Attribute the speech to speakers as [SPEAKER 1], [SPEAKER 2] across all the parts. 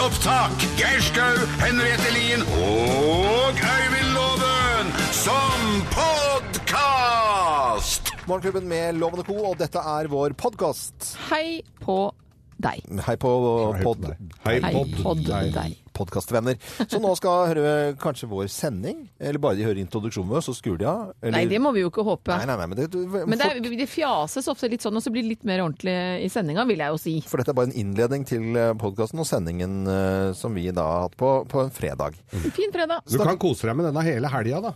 [SPEAKER 1] opptak. Geir Skau, Henriette Lien og Øyvind Loven som podkast!
[SPEAKER 2] Morgenklubben med Lovende Co, og dette er vår podkast.
[SPEAKER 3] Hei på deg.
[SPEAKER 2] Hei på pod,
[SPEAKER 4] Hei,
[SPEAKER 3] Hei
[SPEAKER 4] Pod.
[SPEAKER 3] på deg.
[SPEAKER 2] podkastvenner. Så nå skal høre kanskje vår sending, eller bare de hører introduksjonen vår, så skrur de av. eller-
[SPEAKER 3] Nei, det må vi jo ikke håpe.
[SPEAKER 2] Nei, nei, nei, men det,
[SPEAKER 3] Men det, er, det fjases ofte litt sånn, og så blir det litt mer ordentlig i sendinga, vil jeg jo si.
[SPEAKER 2] For dette er bare en innledning til podkasten og sendingen eh, som vi da har hatt på, på en fredag.
[SPEAKER 3] Fin fredag.
[SPEAKER 4] Du kan kose deg med denne hele helga, da.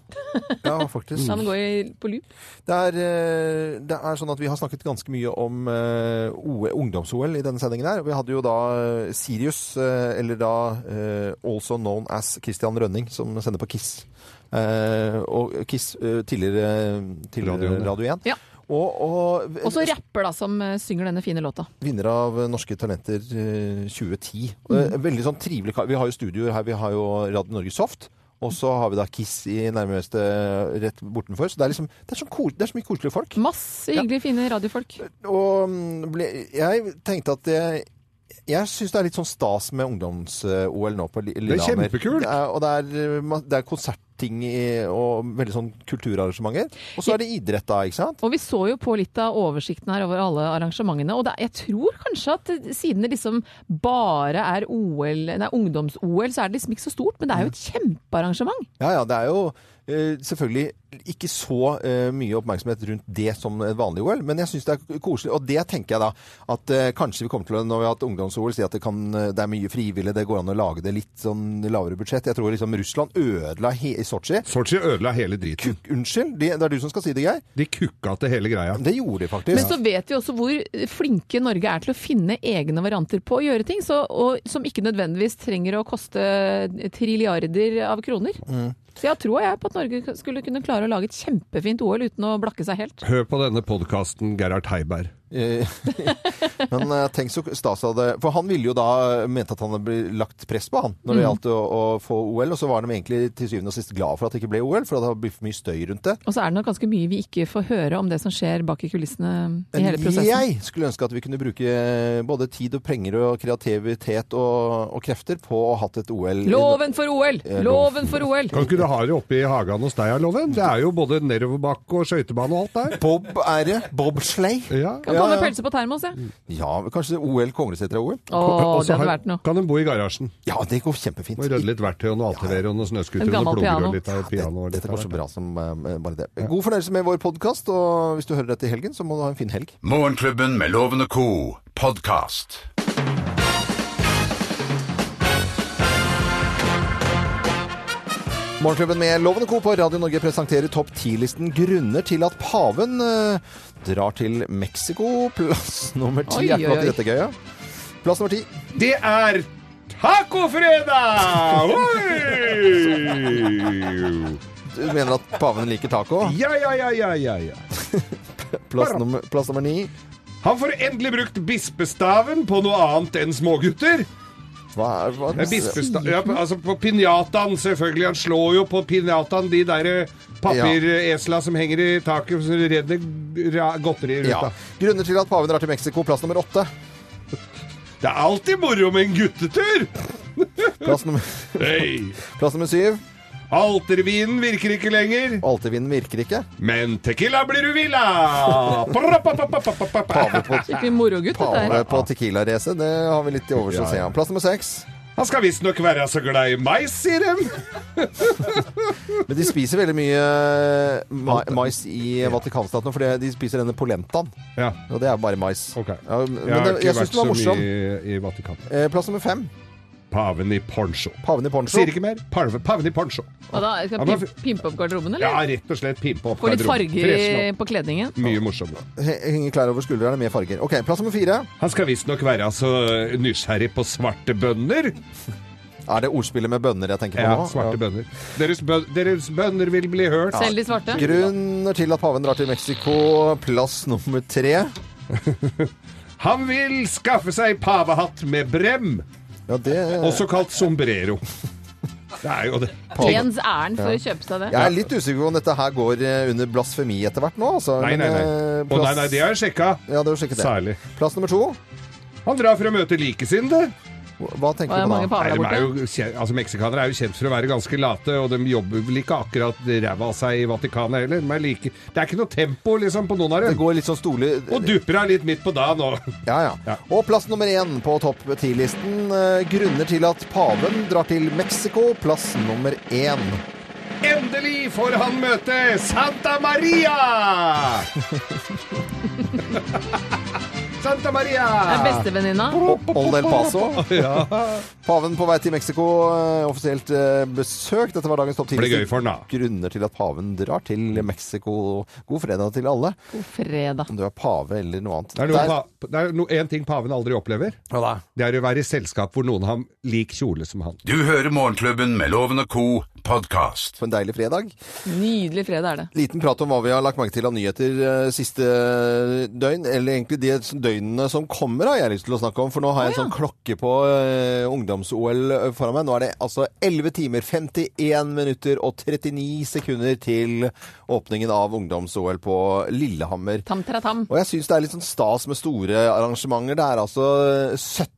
[SPEAKER 2] Ja, faktisk.
[SPEAKER 3] Kan gå i, på loop.
[SPEAKER 2] Det er, eh, det er sånn at vi har snakket ganske mye om eh, O- ungdoms-OL i denne sendingen her. Vi hadde jo da eh, Sirius, eh, eller da eh, also known as Christian Rønning, som sender på Kiss. Eh, og Kiss eh, tidligere, tidligere
[SPEAKER 4] Radioen, ja.
[SPEAKER 2] Radio 1.
[SPEAKER 3] Ja.
[SPEAKER 2] Og, og,
[SPEAKER 3] Og så rapper, da, som eh, synger denne fine låta.
[SPEAKER 2] vinner av Norske Talenter eh, 2010.
[SPEAKER 3] Mm.
[SPEAKER 2] Eh, Veldig sånn trivelig kar. Vi har jo studioer her. Vi har jo Radio Norge Soft. Og så har vi da Kiss i nærmeste rett bortenfor. Så det er liksom, det er, sånn kos, det er så mye koselige folk.
[SPEAKER 3] Masse hyggelige, fine radiofolk.
[SPEAKER 2] Og mm, ble, jeg tenkte at det jeg syns det er litt sånn stas med ungdoms-OL nå på Li-
[SPEAKER 4] er
[SPEAKER 2] Lillehammer.
[SPEAKER 4] kjempekult.
[SPEAKER 2] Det er, og det er, eh, ma- det er konsertting i, og veldig sånn kulturarrangementer. Og så er det idrett, da, ikke sant?
[SPEAKER 3] Og vi så jo på litt av oversikten her over alle arrangementene, og det, jeg tror kanskje at siden det liksom bare er OL, nei, ungdoms-OL, så er det liksom ikke så stort, men det er jo et kjempearrangement.
[SPEAKER 2] Ja, ja, det er jo eh, selvfølgelig ikke så eh, mye oppmerksomhet rundt det som et vanlig OL, men jeg syns det er koselig. Og det tenker jeg da, at eh, kanskje vi kommer til å, når vi har hatt ungdoms-OL, si at det, kan, eh, det er mye frivillig, det går an å lage det litt sånn lavere budsjett. Jeg tror liksom Russland ødela he i Sotsji.
[SPEAKER 4] Sotsji ødela hele driten.
[SPEAKER 2] Unnskyld, det, det er du som skal si det, Geir.
[SPEAKER 4] De kukka til hele greia.
[SPEAKER 2] Det gjorde de faktisk.
[SPEAKER 3] Men så vet vi også hvor flinke Norge er til å finne egne varianter på å gjøre ting, så, og, som ikke nødvendigvis trenger å koste trilliarder av kroner.
[SPEAKER 4] Mm.
[SPEAKER 3] Så jeg tror jeg på at Norge skulle kunne klare å lage et kjempefint OL uten å blakke seg helt.
[SPEAKER 4] Hør på denne podkasten, Gerhard Heiberg.
[SPEAKER 2] Eh, Men eh, tenk så stas av det. For han ville jo da mente at han hadde blitt lagt press på han
[SPEAKER 3] Mm.
[SPEAKER 2] når det gjaldt å, å få OL, og så var de egentlig til syvende og sist glad for at det ikke ble OL, for det hadde blitt for mye støy rundt det.
[SPEAKER 3] Og så er det nok ganske mye vi ikke får høre om det som skjer bak i kulissene i hele
[SPEAKER 2] Men
[SPEAKER 3] prosessen.
[SPEAKER 2] jeg skulle ønske at vi kunne bruke eh, både tid og penger og kreativitet og, og krefter på å ha hatt et OL. i-
[SPEAKER 3] Loven for OL! Loven for OL!
[SPEAKER 4] Kan ikke du ha det oppe i hagen hos deg, Loven? Det er jo både nedoverbakke og skøytebane og alt der.
[SPEAKER 2] Bob er det? Bobsleigh?
[SPEAKER 4] Ja. Mm.
[SPEAKER 3] Kan
[SPEAKER 2] Ja,
[SPEAKER 3] komme
[SPEAKER 2] ja.
[SPEAKER 3] pølse på termos, jeg.
[SPEAKER 2] Ja, kanskje OL Kongleseter-OL?
[SPEAKER 3] Å,
[SPEAKER 4] Og så
[SPEAKER 3] det hadde
[SPEAKER 4] har-
[SPEAKER 3] vært noe.
[SPEAKER 4] Kan hun bo i garasjen?
[SPEAKER 2] Ja, det går kjempefint.
[SPEAKER 4] Må rydde litt verktøy og noe altevere og noen snøskuter
[SPEAKER 3] En
[SPEAKER 4] og noen
[SPEAKER 3] gammel
[SPEAKER 4] plommer
[SPEAKER 3] piano.
[SPEAKER 4] og litt av piano. Og litt
[SPEAKER 2] Dette går så
[SPEAKER 4] av hvert.
[SPEAKER 2] bra som eh, bare det. God fornøyelse med vår podkast, og hvis du hører dette i helgen, så må du ha en fin helg.
[SPEAKER 1] Morgenklubben med Loven og co. podkast.
[SPEAKER 2] Morgenklubben med Loven og Co. på Radio Norge presenterer topp 10-listen grunner til at paven eh, drar til Mexico. Plass nummer ti.
[SPEAKER 3] Oi,
[SPEAKER 2] Er ikke
[SPEAKER 3] oi,
[SPEAKER 2] alltid
[SPEAKER 3] oi.
[SPEAKER 2] dette gøy, ja? Plass nummer ti.
[SPEAKER 4] Det er tacofredag! Oi!
[SPEAKER 2] Du mener at paven liker taco?
[SPEAKER 4] Ja, ja, ja, ja, ja, ja.
[SPEAKER 2] Plass nummer, plass nummer ni.
[SPEAKER 4] Han får endelig brukt bispestaven på noe annet enn smågutter.
[SPEAKER 2] Hva er hva?
[SPEAKER 4] Det er bispesta ja, p- altså på pinjataen, selvfølgelig. Han slår jo på pinjataen de der eh, papiresla som henger i taket, som redder ra- godteri i
[SPEAKER 2] Ja.
[SPEAKER 4] ruta.
[SPEAKER 2] Grunner til at paven drar til Mexico. Plass nummer åtte.
[SPEAKER 4] Det er alltid moro med en guttetur!
[SPEAKER 2] Plass nummer,
[SPEAKER 4] Hey.
[SPEAKER 2] plass nummer syv.
[SPEAKER 4] Altervinen virker ikke lenger,
[SPEAKER 2] Altervinden virker ikke.
[SPEAKER 4] men tequila blir du villa! Papapapapapapa.
[SPEAKER 2] Pave på,
[SPEAKER 3] Skikkelig morogutt, dette
[SPEAKER 2] pave
[SPEAKER 3] her.
[SPEAKER 2] på Tequila-race. Det har vi litt til overs
[SPEAKER 4] Ja,
[SPEAKER 2] å se
[SPEAKER 4] ja.
[SPEAKER 2] an. Plass nummer seks.
[SPEAKER 4] Han skal visstnok være så glad i mais, sier de.
[SPEAKER 2] Men de spiser veldig mye eh, ma mais i Vatikanstaten, for det- de spiser denne polentaen.
[SPEAKER 4] Ja,
[SPEAKER 2] Og det er bare mais.
[SPEAKER 4] ok.
[SPEAKER 2] Ja, men
[SPEAKER 4] Jeg har
[SPEAKER 2] det,
[SPEAKER 4] ikke
[SPEAKER 2] jeg syns
[SPEAKER 4] vært
[SPEAKER 2] den var
[SPEAKER 4] så
[SPEAKER 2] morsom.
[SPEAKER 4] mye i Vatikanet.
[SPEAKER 2] Eh, Plass nummer fem.
[SPEAKER 4] Paven i poncho.
[SPEAKER 2] Paven i poncho.
[SPEAKER 4] Sier ikke mer. Parve, paven i poncho.
[SPEAKER 3] Hva da? Skal
[SPEAKER 4] Ja,
[SPEAKER 3] jeg
[SPEAKER 4] men-
[SPEAKER 3] pimp- pimpe opp garderoben,
[SPEAKER 4] Ja,
[SPEAKER 3] eller?
[SPEAKER 4] rett og slett pimpe opp
[SPEAKER 3] Få litt
[SPEAKER 4] garderoben.
[SPEAKER 3] farger i-
[SPEAKER 4] Freshen opp.
[SPEAKER 3] på kledningen?
[SPEAKER 4] Mye morsommere.
[SPEAKER 2] He- Henger klær over skuldrene med farger. Ok, Plass nummer fire.
[SPEAKER 4] Han skal visstnok være så nysgjerrig på svarte bønder.
[SPEAKER 2] Er det ordspillet med bønner jeg tenker på
[SPEAKER 4] Ja,
[SPEAKER 2] nå?
[SPEAKER 4] svarte bønder. Deres, bø- deres bønder vil bli hørt.
[SPEAKER 3] Selv de svarte?
[SPEAKER 2] Grunner til at paven drar til Mexico. Plass nummer tre.
[SPEAKER 4] Han vil skaffe seg pavehatt med brem,
[SPEAKER 2] Ja, det
[SPEAKER 4] også kalt sombrero. Det er jo det.
[SPEAKER 3] Ens ærend for å kjøpe seg det.
[SPEAKER 2] Jeg er litt usikker på om dette her går eh, under blasfemi etter hvert nå. Altså.
[SPEAKER 4] Nei,
[SPEAKER 2] Men,
[SPEAKER 4] nei, nei.
[SPEAKER 2] eh,
[SPEAKER 4] Å nei,
[SPEAKER 2] plass-
[SPEAKER 4] nei, det har jeg sjekka.
[SPEAKER 2] Ja, det var sikkert det.
[SPEAKER 4] Særlig.
[SPEAKER 2] Plass nummer to.
[SPEAKER 4] Han drar for å møte likesinnede.
[SPEAKER 2] Hva tenker
[SPEAKER 3] Var det
[SPEAKER 2] du
[SPEAKER 3] mange
[SPEAKER 2] på da?
[SPEAKER 4] Nei,
[SPEAKER 3] paner
[SPEAKER 4] de
[SPEAKER 3] der borte?
[SPEAKER 4] er jo, kje- altså Meksikanere er jo kjent for å være ganske late, og de jobber vel ikke akkurat ræva av seg i Vatikanet heller. Men like, det er ikke noe tempo liksom på noen av
[SPEAKER 2] Det
[SPEAKER 4] dem.
[SPEAKER 2] går litt sånn stolig
[SPEAKER 4] Og dupper av litt midt på dagen og
[SPEAKER 2] Ja, ja,
[SPEAKER 4] Ja.
[SPEAKER 2] Og plass nummer én på topp ti-listen. eh, grunner til at paven drar til Mexico. Plass nummer én.
[SPEAKER 4] Endelig får han møte Santa Maria! Santa Maria!
[SPEAKER 3] Det er bestevenninna.
[SPEAKER 2] Ol del Paso. Paven på vei til Mexico, eh, offisielt eh, besøk. Dette var dagens topp
[SPEAKER 4] Det blir
[SPEAKER 2] ti-liste.
[SPEAKER 4] gøy for den, da.
[SPEAKER 2] Grunner til at paven drar til Mexico. God fredag til alle.
[SPEAKER 3] God fredag.
[SPEAKER 2] Om du er pave eller noe annet.
[SPEAKER 4] Det er, noe
[SPEAKER 2] Der-
[SPEAKER 4] pa, det er no, en ting paven aldri opplever.
[SPEAKER 2] Ja, da.
[SPEAKER 4] Det er å være i selskap hvor noen har lik kjole som han.
[SPEAKER 1] Du hører Morgenklubben med Loven og Co. podkast.
[SPEAKER 2] På en deilig fredag.
[SPEAKER 3] Nydelig fredag er det.
[SPEAKER 2] Liten prat om hva vi har lagt merke til av nyheter eh, siste eh, døgn, eller egentlig de døgnene som kommer, har jeg lyst til å snakke om. For nå har jeg en
[SPEAKER 3] Å, ja.
[SPEAKER 2] sånn klokke på eh, ungdoms-OL foran meg. Nå er det altså 11 timer, 51 minutter og 39 sekunder til åpningen av ungdoms-OL på Lillehammer.
[SPEAKER 3] Tam tera tam.
[SPEAKER 2] Og jeg syns det er litt sånn stas med store arrangementer. Det er altså 70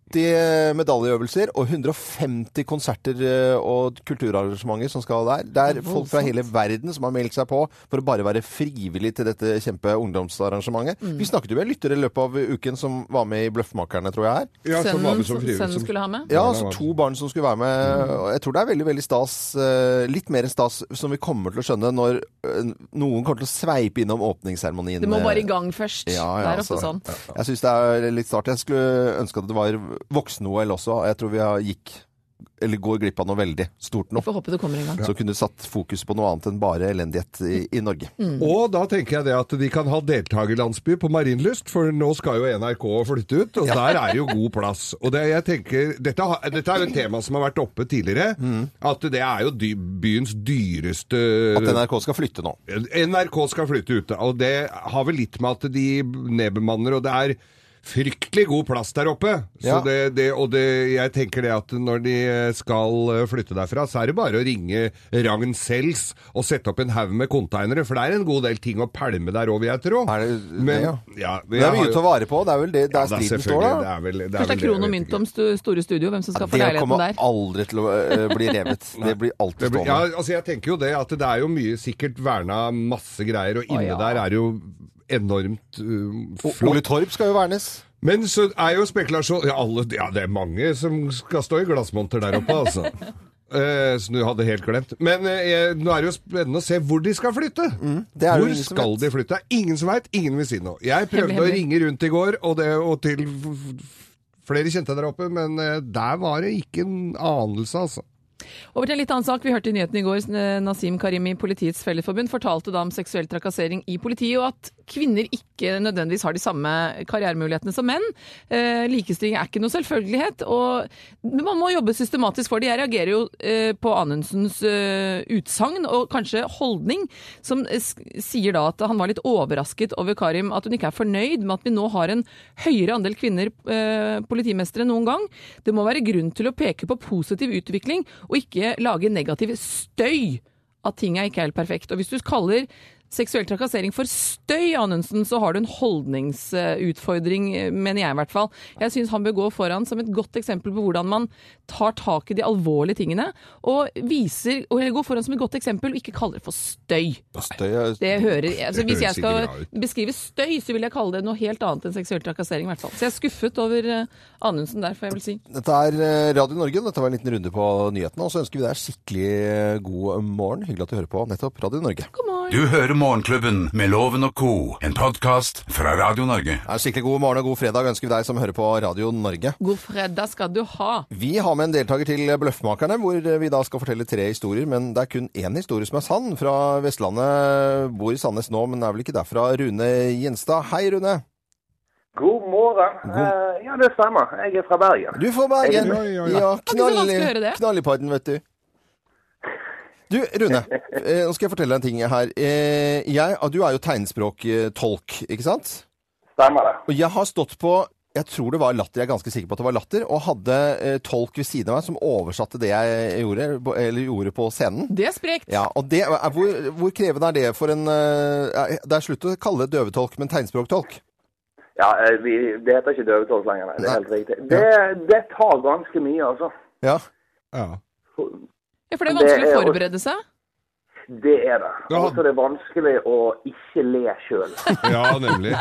[SPEAKER 2] medaljeøvelser og 150 konserter eh, og kulturarrangementer som skal der. Det er folk fra hele verden som har meldt seg på for å bare være frivillig til dette kjempe ungdomsarrangementet.
[SPEAKER 3] Mm.
[SPEAKER 2] Vi snakket jo med en lytter i løpet av uken som var med i Bløffmakerne, tror jeg. her.
[SPEAKER 4] Ja, som
[SPEAKER 3] Sønnen,
[SPEAKER 4] var med som frivillig,
[SPEAKER 3] sønnen
[SPEAKER 4] som-
[SPEAKER 3] skulle ha med.
[SPEAKER 2] Ja,
[SPEAKER 4] Ja, det Mm.
[SPEAKER 2] altså
[SPEAKER 4] var-
[SPEAKER 2] to barn som skulle være med. Og Jeg tror det er veldig veldig stas. eh, Litt mer enn stas som vi kommer til å skjønne når eh, noen kommer til å sveipe innom åpningsseremonien.
[SPEAKER 3] Du må bare i gang først.
[SPEAKER 2] Ja, ja,
[SPEAKER 3] det er
[SPEAKER 2] altså.
[SPEAKER 3] ofte sånn.
[SPEAKER 2] Jeg syns det er litt start. Jeg skulle ønske at det var voksen-OL også. Jeg tror vi har gikk, eller går glipp av noe veldig stort nå.
[SPEAKER 3] Vi får håpe det kommer en gang.
[SPEAKER 2] Så kunne du satt fokus på noe annet enn bare elendighet i, i Norge.
[SPEAKER 3] Mm.
[SPEAKER 4] Og da tenker jeg det at de kan ha deltakerlandsby på Marienlyst, for nå skal jo NRK flytte ut, og der er det jo god plass. Og det jeg tenker, dette, har- dette er jo et tema som har vært oppe tidligere, at det er jo dy, byens dyreste
[SPEAKER 2] Mm.
[SPEAKER 3] Mm.
[SPEAKER 2] At NRK skal flytte nå.
[SPEAKER 4] NRK skal flytte ut, og det har vel litt med at de nedbemanner, og det er fryktelig god plass der oppe. Så
[SPEAKER 2] Ja.
[SPEAKER 4] det, det, og det, jeg tenker det at når de eh, skal flytte derfra, så er det bare å ringe Ragn Sells og sette opp en haug med konteinere, for det er en god del ting å pælme der òg, vil jeg tro.
[SPEAKER 2] Er det- det, ja.
[SPEAKER 4] ja,
[SPEAKER 2] Det er mye å ta vare på. Det er vel det der
[SPEAKER 4] Ja, da,
[SPEAKER 2] striden står,
[SPEAKER 4] selvfølgelig,
[SPEAKER 2] da.
[SPEAKER 4] Det er vel, det er
[SPEAKER 3] Kanskje det
[SPEAKER 4] vel
[SPEAKER 3] er Krono
[SPEAKER 4] jeg vet
[SPEAKER 3] mynt
[SPEAKER 4] ikke.
[SPEAKER 3] om stu, store studio, hvem som skal få
[SPEAKER 2] Det
[SPEAKER 3] leiligheten
[SPEAKER 2] kommer
[SPEAKER 3] der.
[SPEAKER 2] aldri til å eh, bli revet. Det blir alltid
[SPEAKER 4] Det blir-
[SPEAKER 2] stående.
[SPEAKER 4] Ja, altså jeg tenker jo det at det er jo mye sikkert verna masse greier, og inne
[SPEAKER 3] ja.
[SPEAKER 4] der er det jo enormt uh,
[SPEAKER 2] O-
[SPEAKER 4] flott.
[SPEAKER 2] Ole Torp skal jo vernes.
[SPEAKER 4] Men så er jo spekulasjon ja, alle, ja, det er mange som skal stå i glassmonter der oppe, altså. Eh, som du hadde helt glemt. Men eh, jeg- nå er det jo spennende å se hvor de skal flytte.
[SPEAKER 2] Mm, det er det jo
[SPEAKER 4] hvor
[SPEAKER 2] ingen som
[SPEAKER 4] skal de flytte? Det er ingen som veit, ingen vil si noe. Jeg prøvde
[SPEAKER 3] Hemmelig,
[SPEAKER 4] å ringe rundt i går, og, det, og til f- f- flere kjente der oppe, men eh, der var det ikke en anelse, altså.
[SPEAKER 3] Over til en litt annen sak. Vi hørte i nyheten i går eh, Nasim Karim i Politiets Fellesforbund fortalte da om seksuell trakassering i politiet, og at kvinner ikke nødvendigvis har de samme karrieremulighetene som menn. Eh, likestilling er ikke noe selvfølgelighet, og men man må jobbe systematisk for det. Jeg reagerer jo eh, på Anundsens eh, utsagn og kanskje holdning, som eh, s- sier da at han var litt overrasket over Karim, at hun ikke er fornøyd med at vi nå har en høyere andel kvinner eh, politimestere enn noen gang. Det må være grunn til å peke på positiv utvikling, og ikke lage negativ støy at ting er ikke helt perfekt. Og hvis du kaller seksuell trakassering for støy, Anundsen, så har du en holdningsutfordring, mener jeg i hvert fall. Jeg syns han bør gå foran som et godt eksempel på hvordan man tar tak i de alvorlige tingene, og viser, og eller går foran som et godt eksempel og ikke kaller det for støy.
[SPEAKER 2] Støy eh, er-
[SPEAKER 3] Det hører, altså
[SPEAKER 4] Det
[SPEAKER 3] Hvis jeg
[SPEAKER 4] høres ikke
[SPEAKER 3] skal
[SPEAKER 4] bra ut.
[SPEAKER 3] beskrive støy, så vil jeg kalle det noe helt annet enn seksuell trakassering. i hvert fall. Så jeg er skuffet over eh, Anundsen der, får jeg vel si.
[SPEAKER 2] Dette er eh, Radio Norge. Dette var en liten runde på nyhetene. Og så ønsker vi deg skikkelig eh, god morgen. Hyggelig at du hører på nettopp Radio Norge.
[SPEAKER 3] God morgen.
[SPEAKER 1] Du hører Morgenklubben med Loven og Co., en podkast fra Radio Norge.
[SPEAKER 2] Ja, skikkelig god morgen og god fredag ønsker vi deg som hører på Radio Norge.
[SPEAKER 3] God fredag skal du ha.
[SPEAKER 2] Vi har med en deltaker til Bløffmakerne, hvor vi da skal fortelle tre historier. Men det er kun én historie som er sann. Fra Vestlandet. Bor i Sandnes nå, men er vel ikke derfra. Rune Gjenstad. Hei, Rune.
[SPEAKER 5] God morgen. Eh, ja, det stemmer. Jeg er fra Bergen.
[SPEAKER 2] Du får Bergen.
[SPEAKER 4] Oi, oi, oi.
[SPEAKER 2] Ja, knall,
[SPEAKER 3] vanskelig å høre det.
[SPEAKER 2] knall i padden, vet du. Du, Rune. eh, Nå skal jeg fortelle deg en ting her. Eh, Jeg, ah, du er jo tegnspråktolk, ikke sant?
[SPEAKER 5] Stemmer det.
[SPEAKER 2] Og jeg har stått på jeg tror det var latter, jeg er ganske sikker på at det var latter, og hadde eh, tolk ved siden av meg som oversatte det jeg eh, gjorde, på- eller gjorde på scenen.
[SPEAKER 3] Det er sprekt.
[SPEAKER 2] Ja, og det, er, hvor, hvor krevende er det for en eh, er- Det er slutt å kalle det døvetolk, men tegnspråktolk.
[SPEAKER 5] Ja, eh, vi, det heter ikke døvetolk lenger, nei. Det er helt riktig. Det, det tar ganske mye, altså.
[SPEAKER 2] Ja.
[SPEAKER 4] Ja.
[SPEAKER 3] Ja, for det er
[SPEAKER 5] Det
[SPEAKER 3] vanskelig å
[SPEAKER 5] er jo-
[SPEAKER 3] forberede seg.
[SPEAKER 5] Det er det.
[SPEAKER 4] Ja.
[SPEAKER 5] Og så er det vanskelig å ikke le sjøl.
[SPEAKER 4] ja, nemlig.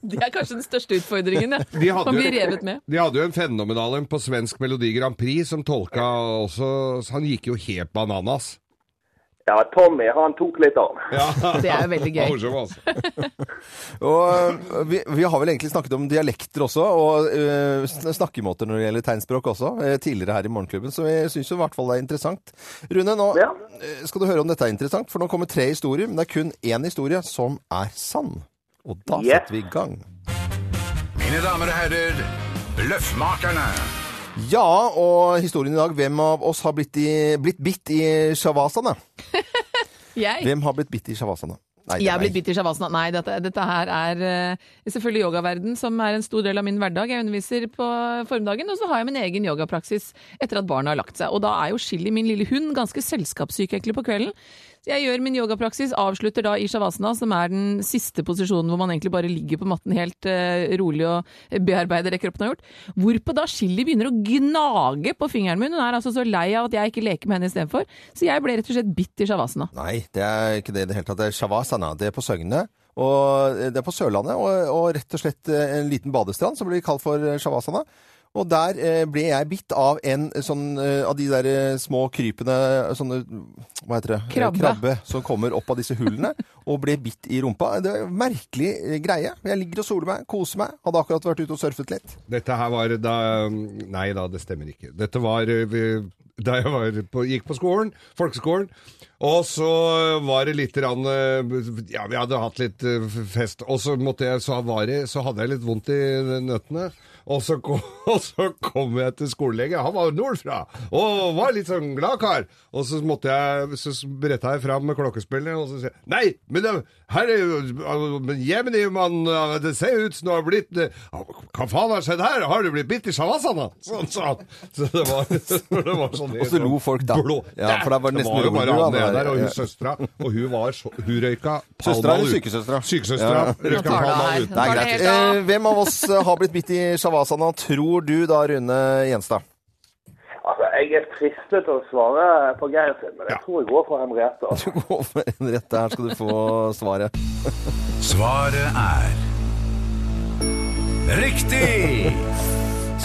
[SPEAKER 3] Det er kanskje den største utfordringen. Ja.
[SPEAKER 4] De hadde
[SPEAKER 3] Man
[SPEAKER 4] jo-
[SPEAKER 3] blir revet med.
[SPEAKER 4] De hadde jo en fenomenal en på svensk Melodi Grand Prix som tolka også så Han gikk jo helt bananas.
[SPEAKER 5] Ja, Tommy, han tok litt av.
[SPEAKER 4] Ja.
[SPEAKER 3] Det er jo veldig gøy.
[SPEAKER 4] Morsom, altså.
[SPEAKER 2] Og øh, vi, vi har vel egentlig snakket om dialekter også, og øh, sn- snakkemåter når det gjelder tegnspråk også, eh, tidligere her i Morgenklubben, så jeg syns jo i hvert fall det er interessant. Rune, nå
[SPEAKER 5] Ja.
[SPEAKER 2] eh, skal du høre om dette er interessant, for nå kommer tre historier, men det er kun én historie som er sann. Og da
[SPEAKER 5] Yeah.
[SPEAKER 2] setter vi i gang.
[SPEAKER 1] Mine damer og herrer, Løffmakerne.
[SPEAKER 2] Ja, og historien i dag, hvem av oss har blitt, i, blitt bitt i sjavasene?
[SPEAKER 3] Jeg,
[SPEAKER 2] Hvem har blitt bitt i sjavasene? Nei, det
[SPEAKER 3] jeg
[SPEAKER 2] er
[SPEAKER 3] er blitt
[SPEAKER 2] meg.
[SPEAKER 3] bitt i shavasana. Nei, dette, dette her er eh, selvfølgelig yogaverden, som er en stor del av min hverdag. Jeg underviser på formiddagen, og så har jeg min egen yogapraksis etter at barna har lagt seg. Og da er jo Chili, min lille hund, ganske selskapssyk egentlig på kvelden. Så jeg gjør min yogapraksis, avslutter da i shavasana, som er den siste posisjonen hvor man egentlig bare ligger på matten helt eh, rolig og bearbeider det kroppen har gjort. Hvorpå da Chili begynner å gnage på fingeren min. Hun er altså så lei av at jeg ikke leker med henne istedenfor. Så jeg ble rett og slett bitt i shavasana.
[SPEAKER 2] Nei, det er ikke det i det hele tatt. Det er Shavasana. Det er på Søgne. Og eh, det er på Sørlandet, og, og rett og slett eh, en liten badestrand som blir kalt for eh, Shavasana. Og der eh, ble jeg bitt av en sånn eh, av de der eh, små krypende sånne Hva heter det? Eh,
[SPEAKER 3] Krabbe.
[SPEAKER 2] Krabbe som kommer opp av disse hullene. Og ble bitt i rumpa. Det er en merkelig eh, greie. Jeg ligger og soler meg, koser meg. Hadde akkurat vært ute og surfet litt.
[SPEAKER 4] Dette her var da Nei da, det stemmer ikke. Dette var eh, vi- da jeg var på, gikk på skolen, folkeskolen. Og så var det litt rann, eh, Ja, vi hadde hatt litt eh, fest. Og så, måtte jeg, så, var det, så hadde jeg litt vondt i nøttene. Og så, kom, og så kom jeg til skolelegen. Han var nordfra og var litt sånn glad kar. Og så måtte jeg Så bretta jeg fram med klokkespillet, og så sier jeg Nei, men det, her er jo altså, men Jemini, mann, det ser ut som du har blitt eh, Hva faen har skjedd her? Har du blitt bitt i sjavasana? Sånn sa han. Så det var, så det var sånn
[SPEAKER 2] Og så lo folk, da.
[SPEAKER 4] Blå.
[SPEAKER 2] Ja, for da var det nesten
[SPEAKER 4] jo bare
[SPEAKER 2] rolig,
[SPEAKER 4] han
[SPEAKER 2] da,
[SPEAKER 4] ene
[SPEAKER 2] det-
[SPEAKER 4] der og
[SPEAKER 2] ja.
[SPEAKER 4] hun søstera, og hun var så Hun røyka
[SPEAKER 2] Søstera eller
[SPEAKER 4] Palmal ut.
[SPEAKER 2] sykesøstera?
[SPEAKER 4] Sykesøstera.
[SPEAKER 2] Ja.
[SPEAKER 3] Nå
[SPEAKER 4] Røyka
[SPEAKER 3] tar det her.
[SPEAKER 4] Palmal ut.
[SPEAKER 2] Det er
[SPEAKER 3] Tar det
[SPEAKER 2] greit.
[SPEAKER 3] helt av.
[SPEAKER 2] Eh, hvem av oss har blitt bitt i shavasana, tror du da, Rune Gjenstad?
[SPEAKER 5] Altså, jeg er fristet til å svare på Geir sin, men jeg tror jeg går for Henriette. altså.
[SPEAKER 2] Du går for en rett der, skal du få svaret.
[SPEAKER 1] Svaret er Riktig!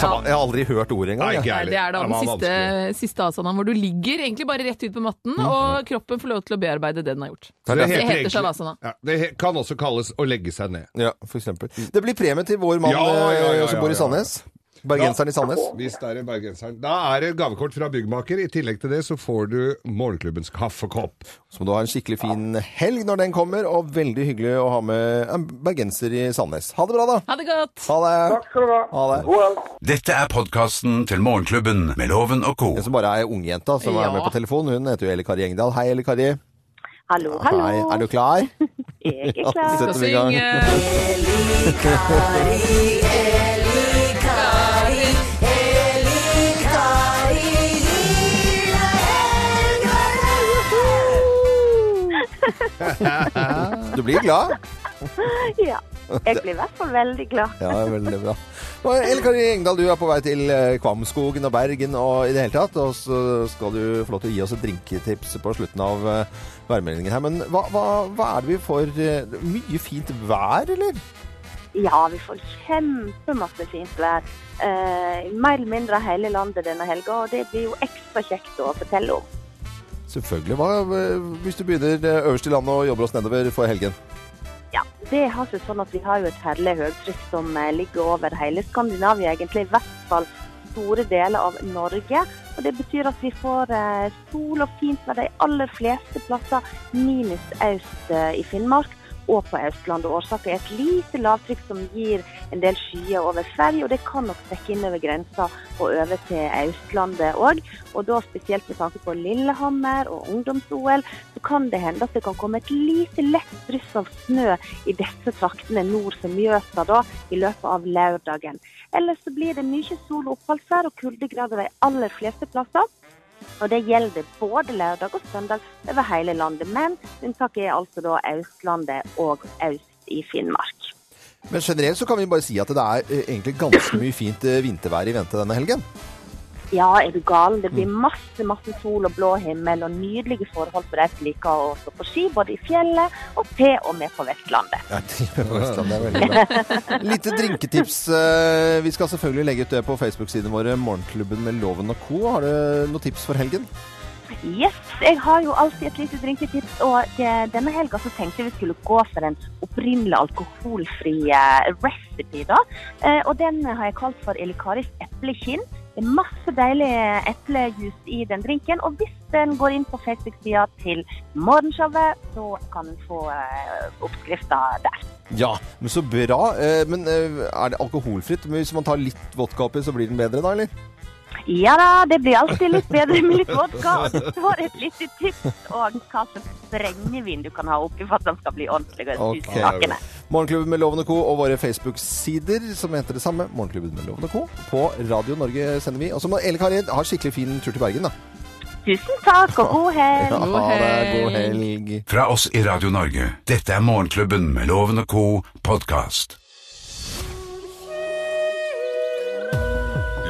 [SPEAKER 2] Shava- Jeg har aldri hørt ordet engang.
[SPEAKER 4] Nei,
[SPEAKER 2] jeg.
[SPEAKER 4] ikke
[SPEAKER 3] Nei,
[SPEAKER 4] jeg
[SPEAKER 3] det er da
[SPEAKER 4] heller.
[SPEAKER 3] den
[SPEAKER 4] var
[SPEAKER 3] siste,
[SPEAKER 4] vanskelig.
[SPEAKER 3] siste asanaen hvor du ligger egentlig bare rett ut på matten, og kroppen får lov til å bearbeide det den har gjort.
[SPEAKER 2] Mm. Det er
[SPEAKER 4] Det
[SPEAKER 2] derfor-
[SPEAKER 3] heter
[SPEAKER 4] egentlig-
[SPEAKER 3] shavasana.
[SPEAKER 4] Ja, det he- kan også kalles å legge seg ned.
[SPEAKER 2] Ja, for eksempel. Det blir premie til vår mann
[SPEAKER 4] Ja, ja, ja,
[SPEAKER 2] eh,
[SPEAKER 4] ja,
[SPEAKER 2] som bor i
[SPEAKER 4] ja, ja.
[SPEAKER 2] Sandnes. Bergenseren i Sandnes.
[SPEAKER 4] Hvis det er en bergenseren. Da er det gavekort fra byggmaker. I tillegg til det så får du morgenklubbens kaffekopp.
[SPEAKER 2] Så må du ha en skikkelig fin helg når den kommer, og veldig hyggelig å ha med en bergenser i Sandnes. Ha det bra, da.
[SPEAKER 3] Ha det godt!
[SPEAKER 2] Ha det.
[SPEAKER 5] Takk skal du ha.
[SPEAKER 2] Ha det.
[SPEAKER 5] God helg.
[SPEAKER 1] Dette er podkasten til Morgenklubben med Loven og co.
[SPEAKER 2] En som bare er ungjenta som er
[SPEAKER 3] Ja.
[SPEAKER 2] med på telefon, hun heter jo Elle Kari Engdahl. Hei, Elle Kari.
[SPEAKER 6] Hallo, hallo.
[SPEAKER 2] Ah, Hei. Er du klar?
[SPEAKER 6] Jeg er
[SPEAKER 2] Ja,
[SPEAKER 6] klar.
[SPEAKER 2] så-
[SPEAKER 3] Skal
[SPEAKER 2] setter vi i gang.
[SPEAKER 3] synge!
[SPEAKER 2] Du blir glad?
[SPEAKER 6] Ja. Jeg blir i hvert fall veldig glad.
[SPEAKER 2] Ja, veldig bra. Og Elle Kari Engdahl, du er på vei til eh, Kvamskogen og Bergen og i det hele tatt. Og så skal du få lov til å gi oss et drinketips på slutten av eh, værmeldingen her. Men hva, hva, hva er det vi får? eh, Mye fint vær, eller?
[SPEAKER 6] Ja, vi får kjempemasse fint vær. Eh, mer eller mindre hele landet denne helga, og det blir jo ekstra kjekt å fortelle om.
[SPEAKER 2] Selvfølgelig. Hva, eh, hvis du begynner eh, øverst i landet og jobber oss nedover for helgen?
[SPEAKER 6] Ja, det har seg sånn at vi har jo et herlig høytrykk som eh, ligger over hele Skandinavia, egentlig i hvert fall store deler av Norge. Og det betyr at vi får eh, sol og fint vær de aller fleste plasser, minus øst eh, i Finnmark og på Østlandet. Årsaken er et lite lavtrykk som gir en del skyer over Sverige, og det kan nok trekke inn over grensa og over til Østlandet òg. Og da spesielt med tanke på Lillehammer og ungdoms-OL, så kan det hende at det kan komme et lite lett dryss av snø i disse traktene nord for Mjøsa da, i løpet av lørdagen. Ellers så blir det mye sol og oppholdsvær og kuldegrader de aller fleste plasser. Og det gjelder både lørdag og søndag over hele landet, men unntaket er altså da Østlandet og øst i Finnmark.
[SPEAKER 2] Men generelt så kan vi bare si at det er eh, egentlig ganske mye fint eh, vintervær i vente denne helgen.
[SPEAKER 6] Ja, er du gal? Det blir masse masse sol og blå himmel og nydelige forhold for de som liker å stå på ski, både i fjellet og til og med på Vestlandet.
[SPEAKER 2] Ja, til og med på Vestlandet er veldig bra. Lite drinketips. eh, Vi skal selvfølgelig legge ut det på Facebook-sidene våre, Morgenklubben med Loven og co. Har du noen tips for helgen?
[SPEAKER 6] Yes, jeg har jo alltid et lite drinketips, og det, denne helga så tenkte jeg vi skulle gå for en opprinnelig alkoholfri eh, recipe, da. Eh, og den har jeg kalt for Elikaris eplekinn. Det er masse deilig eh, eplejus i den drinken, og hvis den går inn på Facebook-sida til Morgenshowet, så kan du få eh, oppskrifta der.
[SPEAKER 2] Ja, men så bra. Eh, Men eh, er det alkoholfritt? Men Hvis man tar litt vodka oppi, så blir den bedre da, eller?
[SPEAKER 6] Ja da, det blir alltid litt bedre med litt vodka. Og det står et lite tips om hva slags brennevin du kan ha oppi for at den skal bli ordentlig og
[SPEAKER 2] Ok.
[SPEAKER 6] smakende.
[SPEAKER 2] Morgenklubben med Loven og co. og våre Facebook-sider som heter det samme. Morgenklubben med Loven og co. På Radio Norge sender vi. Og så må Eli Karin ha skikkelig fin tur til Bergen, da.
[SPEAKER 6] Tusen takk og oh, god helg!
[SPEAKER 2] Ja, ha det. God
[SPEAKER 3] helg.
[SPEAKER 2] helg.
[SPEAKER 1] Fra oss i Radio Norge. Dette er Morgenklubben med Loven og co. podkast.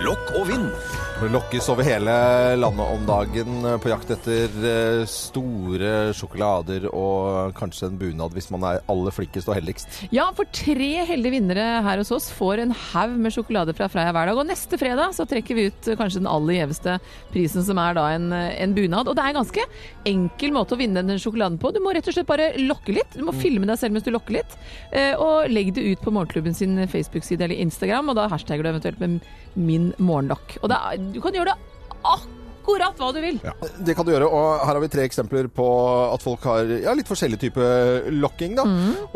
[SPEAKER 7] Lokk og vind.
[SPEAKER 2] Det lokkes over hele landet om dagen eh, på jakt etter eh, store sjokolader og kanskje en bunad hvis man er aller flinkest og heldigst.
[SPEAKER 3] Ja, for tre heldige vinnere her hos oss får en haug med sjokolade fra Freia hver dag. Og neste fredag så trekker vi ut eh, kanskje den aller gjeveste prisen, som er da en, eh, en bunad. Og det er en ganske enkel måte å vinne den sjokoladen på. Du må rett og slett bare lokke litt. Du må
[SPEAKER 2] Mm.
[SPEAKER 3] filme deg selv mens du lokker litt. eh, Og legg det ut på Morgenklubben sin Facebook-side eller Instagram, og da hashtagger du eventuelt med 'min morgenlokk'. Og det er, du kan gjøre det akkurat hva du vil.
[SPEAKER 2] Det kan du gjøre, og her har vi tre eksempler på at folk har ja, litt forskjellig type lokking. da.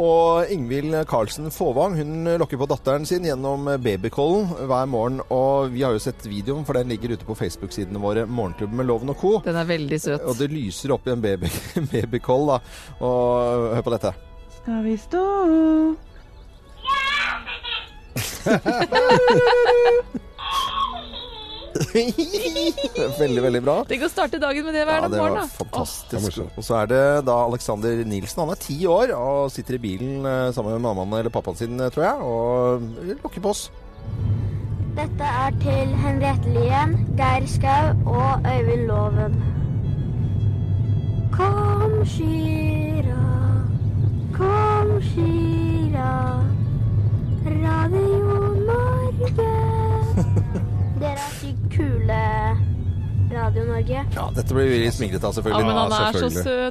[SPEAKER 2] Og Ingvild Karlsen Fåvang hun lokker på datteren sin gjennom babycallen hver morgen. Og vi har jo sett videoen, for den ligger ute på Facebook-sidene våre, Morgenklubben med Loven og co.
[SPEAKER 3] Den er veldig søt.
[SPEAKER 2] Og det lyser opp i en baby, babycall, da. Og hør på dette.
[SPEAKER 8] Skal vi stå opp?
[SPEAKER 2] veldig, veldig bra.
[SPEAKER 3] Tenk å starte dagen med det hver
[SPEAKER 2] Ja,
[SPEAKER 3] dag
[SPEAKER 2] det
[SPEAKER 3] morgen, da.
[SPEAKER 2] var fantastisk. Og så er det da Alexander Nilsen. Han er ti år og sitter i bilen eh, sammen med mammaen eller pappaen sin, eh, tror jeg, og lokker på oss.
[SPEAKER 9] Dette er til Henriette Lien, Geir Skau og Øyvind Loven. Kom, Skira. Kom, Skira. Radio Norge. Dere er sykt kule, Radio Norge.
[SPEAKER 2] Ja, dette blir vi smigret av,
[SPEAKER 3] Ja,
[SPEAKER 2] selvfølgelig.
[SPEAKER 3] men han
[SPEAKER 4] Ja,
[SPEAKER 3] er så
[SPEAKER 4] selvfølgelig.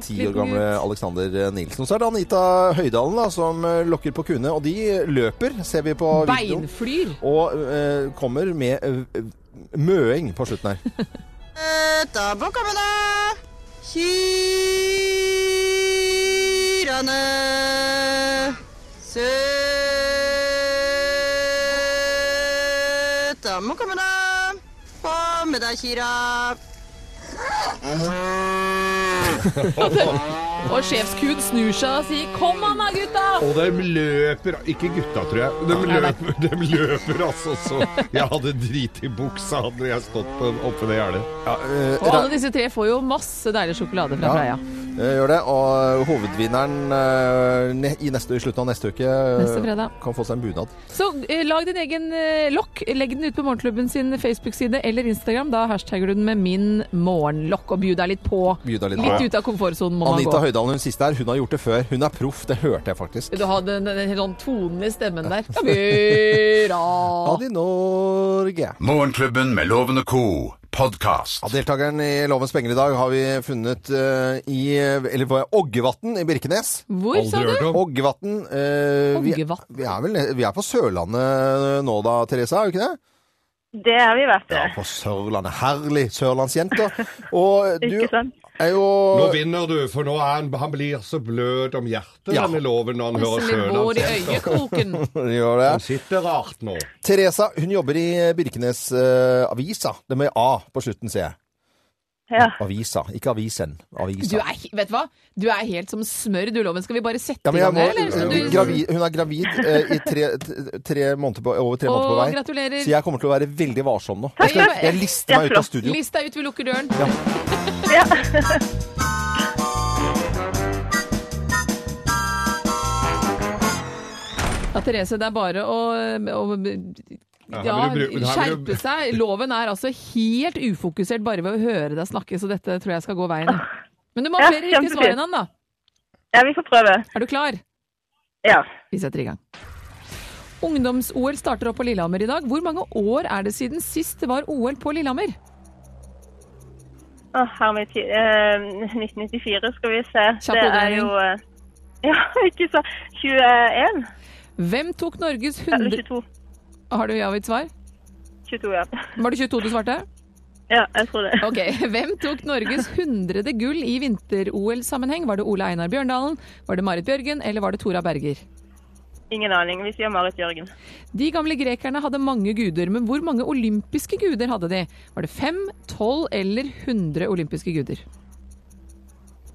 [SPEAKER 3] søt.
[SPEAKER 2] Ti
[SPEAKER 3] liten
[SPEAKER 2] år gamle
[SPEAKER 3] gutt.
[SPEAKER 2] Alexander Nilsen. Og så er det Anita Høydalen da, som eh, lokker på kuene. Og de løper, ser vi på videoen.
[SPEAKER 3] Beinflyr.
[SPEAKER 2] Og eh, kommer med eh, møing på slutten her.
[SPEAKER 8] Etterpå kommer det Kyrene Søta må komme da Få med deg kyra
[SPEAKER 3] Og sjefskuen snur seg og sier 'kom an da, gutta'!
[SPEAKER 2] Eh,
[SPEAKER 4] Og de løper Ikke gutta, tror jeg. De løper, de løper altså så Jeg hadde drit i buksa hadde jeg stått på, oppe det gjerdet.
[SPEAKER 2] Ja, eh,
[SPEAKER 3] Og alle disse tre får jo masse deilig sjokolade fra Freia.
[SPEAKER 2] Eh, Gjør det. Og hovedvinneren eh, ne- i neste, i slutten av neste uke eh,
[SPEAKER 3] Neste fredag.
[SPEAKER 2] kan få seg en bunad.
[SPEAKER 3] Så eh, lag din egen eh, lokk. Legg den ut på Morgenklubben sin Facebook-side eller Instagram. Da hashtagger du den med 'min morgenlokk' og bjuder deg litt på.
[SPEAKER 2] Bjuder deg litt på,
[SPEAKER 3] litt
[SPEAKER 2] ja.
[SPEAKER 3] ut av komfortsonen må
[SPEAKER 2] Anita
[SPEAKER 3] man gå.
[SPEAKER 2] Høydalen, hun siste her, hun har gjort det før. Hun er proff, det hørte jeg faktisk.
[SPEAKER 3] Du hadde den, den, den sånn tonen i stemmen der. Ja, Myra!
[SPEAKER 2] Adi Norge.
[SPEAKER 1] Morgenklubben med Loven og co. podkast.
[SPEAKER 2] Ja, deltakeren i Lovens penger i dag har vi funnet eh, i Eller var det Oggevatn i Birkenes?
[SPEAKER 3] Hvor, sa
[SPEAKER 4] Aldri
[SPEAKER 3] du?
[SPEAKER 4] hørt om.
[SPEAKER 2] Oggevatn. eh, vi,
[SPEAKER 3] Oggevatn.
[SPEAKER 2] vi er vel vi er på Sørlandet eh, nå da, Therese? Er vi ikke det?
[SPEAKER 6] Det har vi vært,
[SPEAKER 2] Ja, på Sørlandet. Herlig. Sørlandsjenter. Og du er jo
[SPEAKER 4] Nå vinner du, for nå er han, han blir så blød om hjertet,
[SPEAKER 2] Ja.
[SPEAKER 4] denne loven, når han hører
[SPEAKER 3] Som et
[SPEAKER 4] sønnen
[SPEAKER 3] vår i
[SPEAKER 4] hans.
[SPEAKER 3] øyekroken.
[SPEAKER 2] Gjør det.
[SPEAKER 4] Han sitter rart nå.
[SPEAKER 2] Teresa, hun jobber i Birkenes eh, Avisa. Det med A på slutten, ser jeg.
[SPEAKER 6] Ja.
[SPEAKER 2] Avisa, ikke avisen.
[SPEAKER 3] Du
[SPEAKER 2] Avisa.
[SPEAKER 3] er, he- vet du hva? Du er helt som smør, du, Loven. Skal vi bare sette
[SPEAKER 2] Ja, men
[SPEAKER 3] i
[SPEAKER 2] jeg
[SPEAKER 3] gang
[SPEAKER 2] må,
[SPEAKER 3] her, eller? Skal du-
[SPEAKER 2] gravid, hun er gravid eh, i tre, t- tre måneder på, over tre måneder på
[SPEAKER 3] Å,
[SPEAKER 2] vei.
[SPEAKER 3] gratulerer.
[SPEAKER 2] Så jeg kommer til å være veldig varsom nå. Jeg, skal, jeg lister meg ut av studio.
[SPEAKER 3] List deg ut, vi lukker døren. Ja, Therese, det er bare å, å ja,
[SPEAKER 4] her må du bru- her må du-
[SPEAKER 3] skjerpe seg. Loven er altså helt ufokusert bare ved å høre deg snakke, så dette tror jeg skal gå veien. Men du må ha
[SPEAKER 7] Ah. Ja,
[SPEAKER 3] flere riktige svar
[SPEAKER 7] kjempefint.
[SPEAKER 3] enn han, da.
[SPEAKER 7] Ja, vi får prøve.
[SPEAKER 3] Er du klar?
[SPEAKER 7] Ja.
[SPEAKER 3] Vi setter i gang. Ungdoms-OL starter opp på Lillehammer i dag. Hvor mange år er det siden sist det var OL på Lillehammer?
[SPEAKER 7] Å, her med ti- eh, 1994 skal vi se.
[SPEAKER 3] Kjapp
[SPEAKER 7] det er
[SPEAKER 3] hoderegning.
[SPEAKER 7] jo eh, Ja, ikke så 21?
[SPEAKER 3] Hvem tok Norges
[SPEAKER 7] Eller
[SPEAKER 3] 100
[SPEAKER 7] 22.
[SPEAKER 3] Har du Javits svar?
[SPEAKER 7] 22, ja.
[SPEAKER 3] Var det 22 du svarte?
[SPEAKER 7] Ja, jeg tror det.
[SPEAKER 3] Ok. Hvem tok Norges 100. gull i vinter-OL-sammenheng? Var det Ole Einar Bjørndalen, var det Marit Bjørgen eller var det Tora Berger?
[SPEAKER 7] Ingen aning. Vi sier Marit Jørgen.
[SPEAKER 3] De gamle grekerne hadde mange guder, men hvor mange olympiske guder hadde de? Var det fem, tolv eller 100 olympiske guder?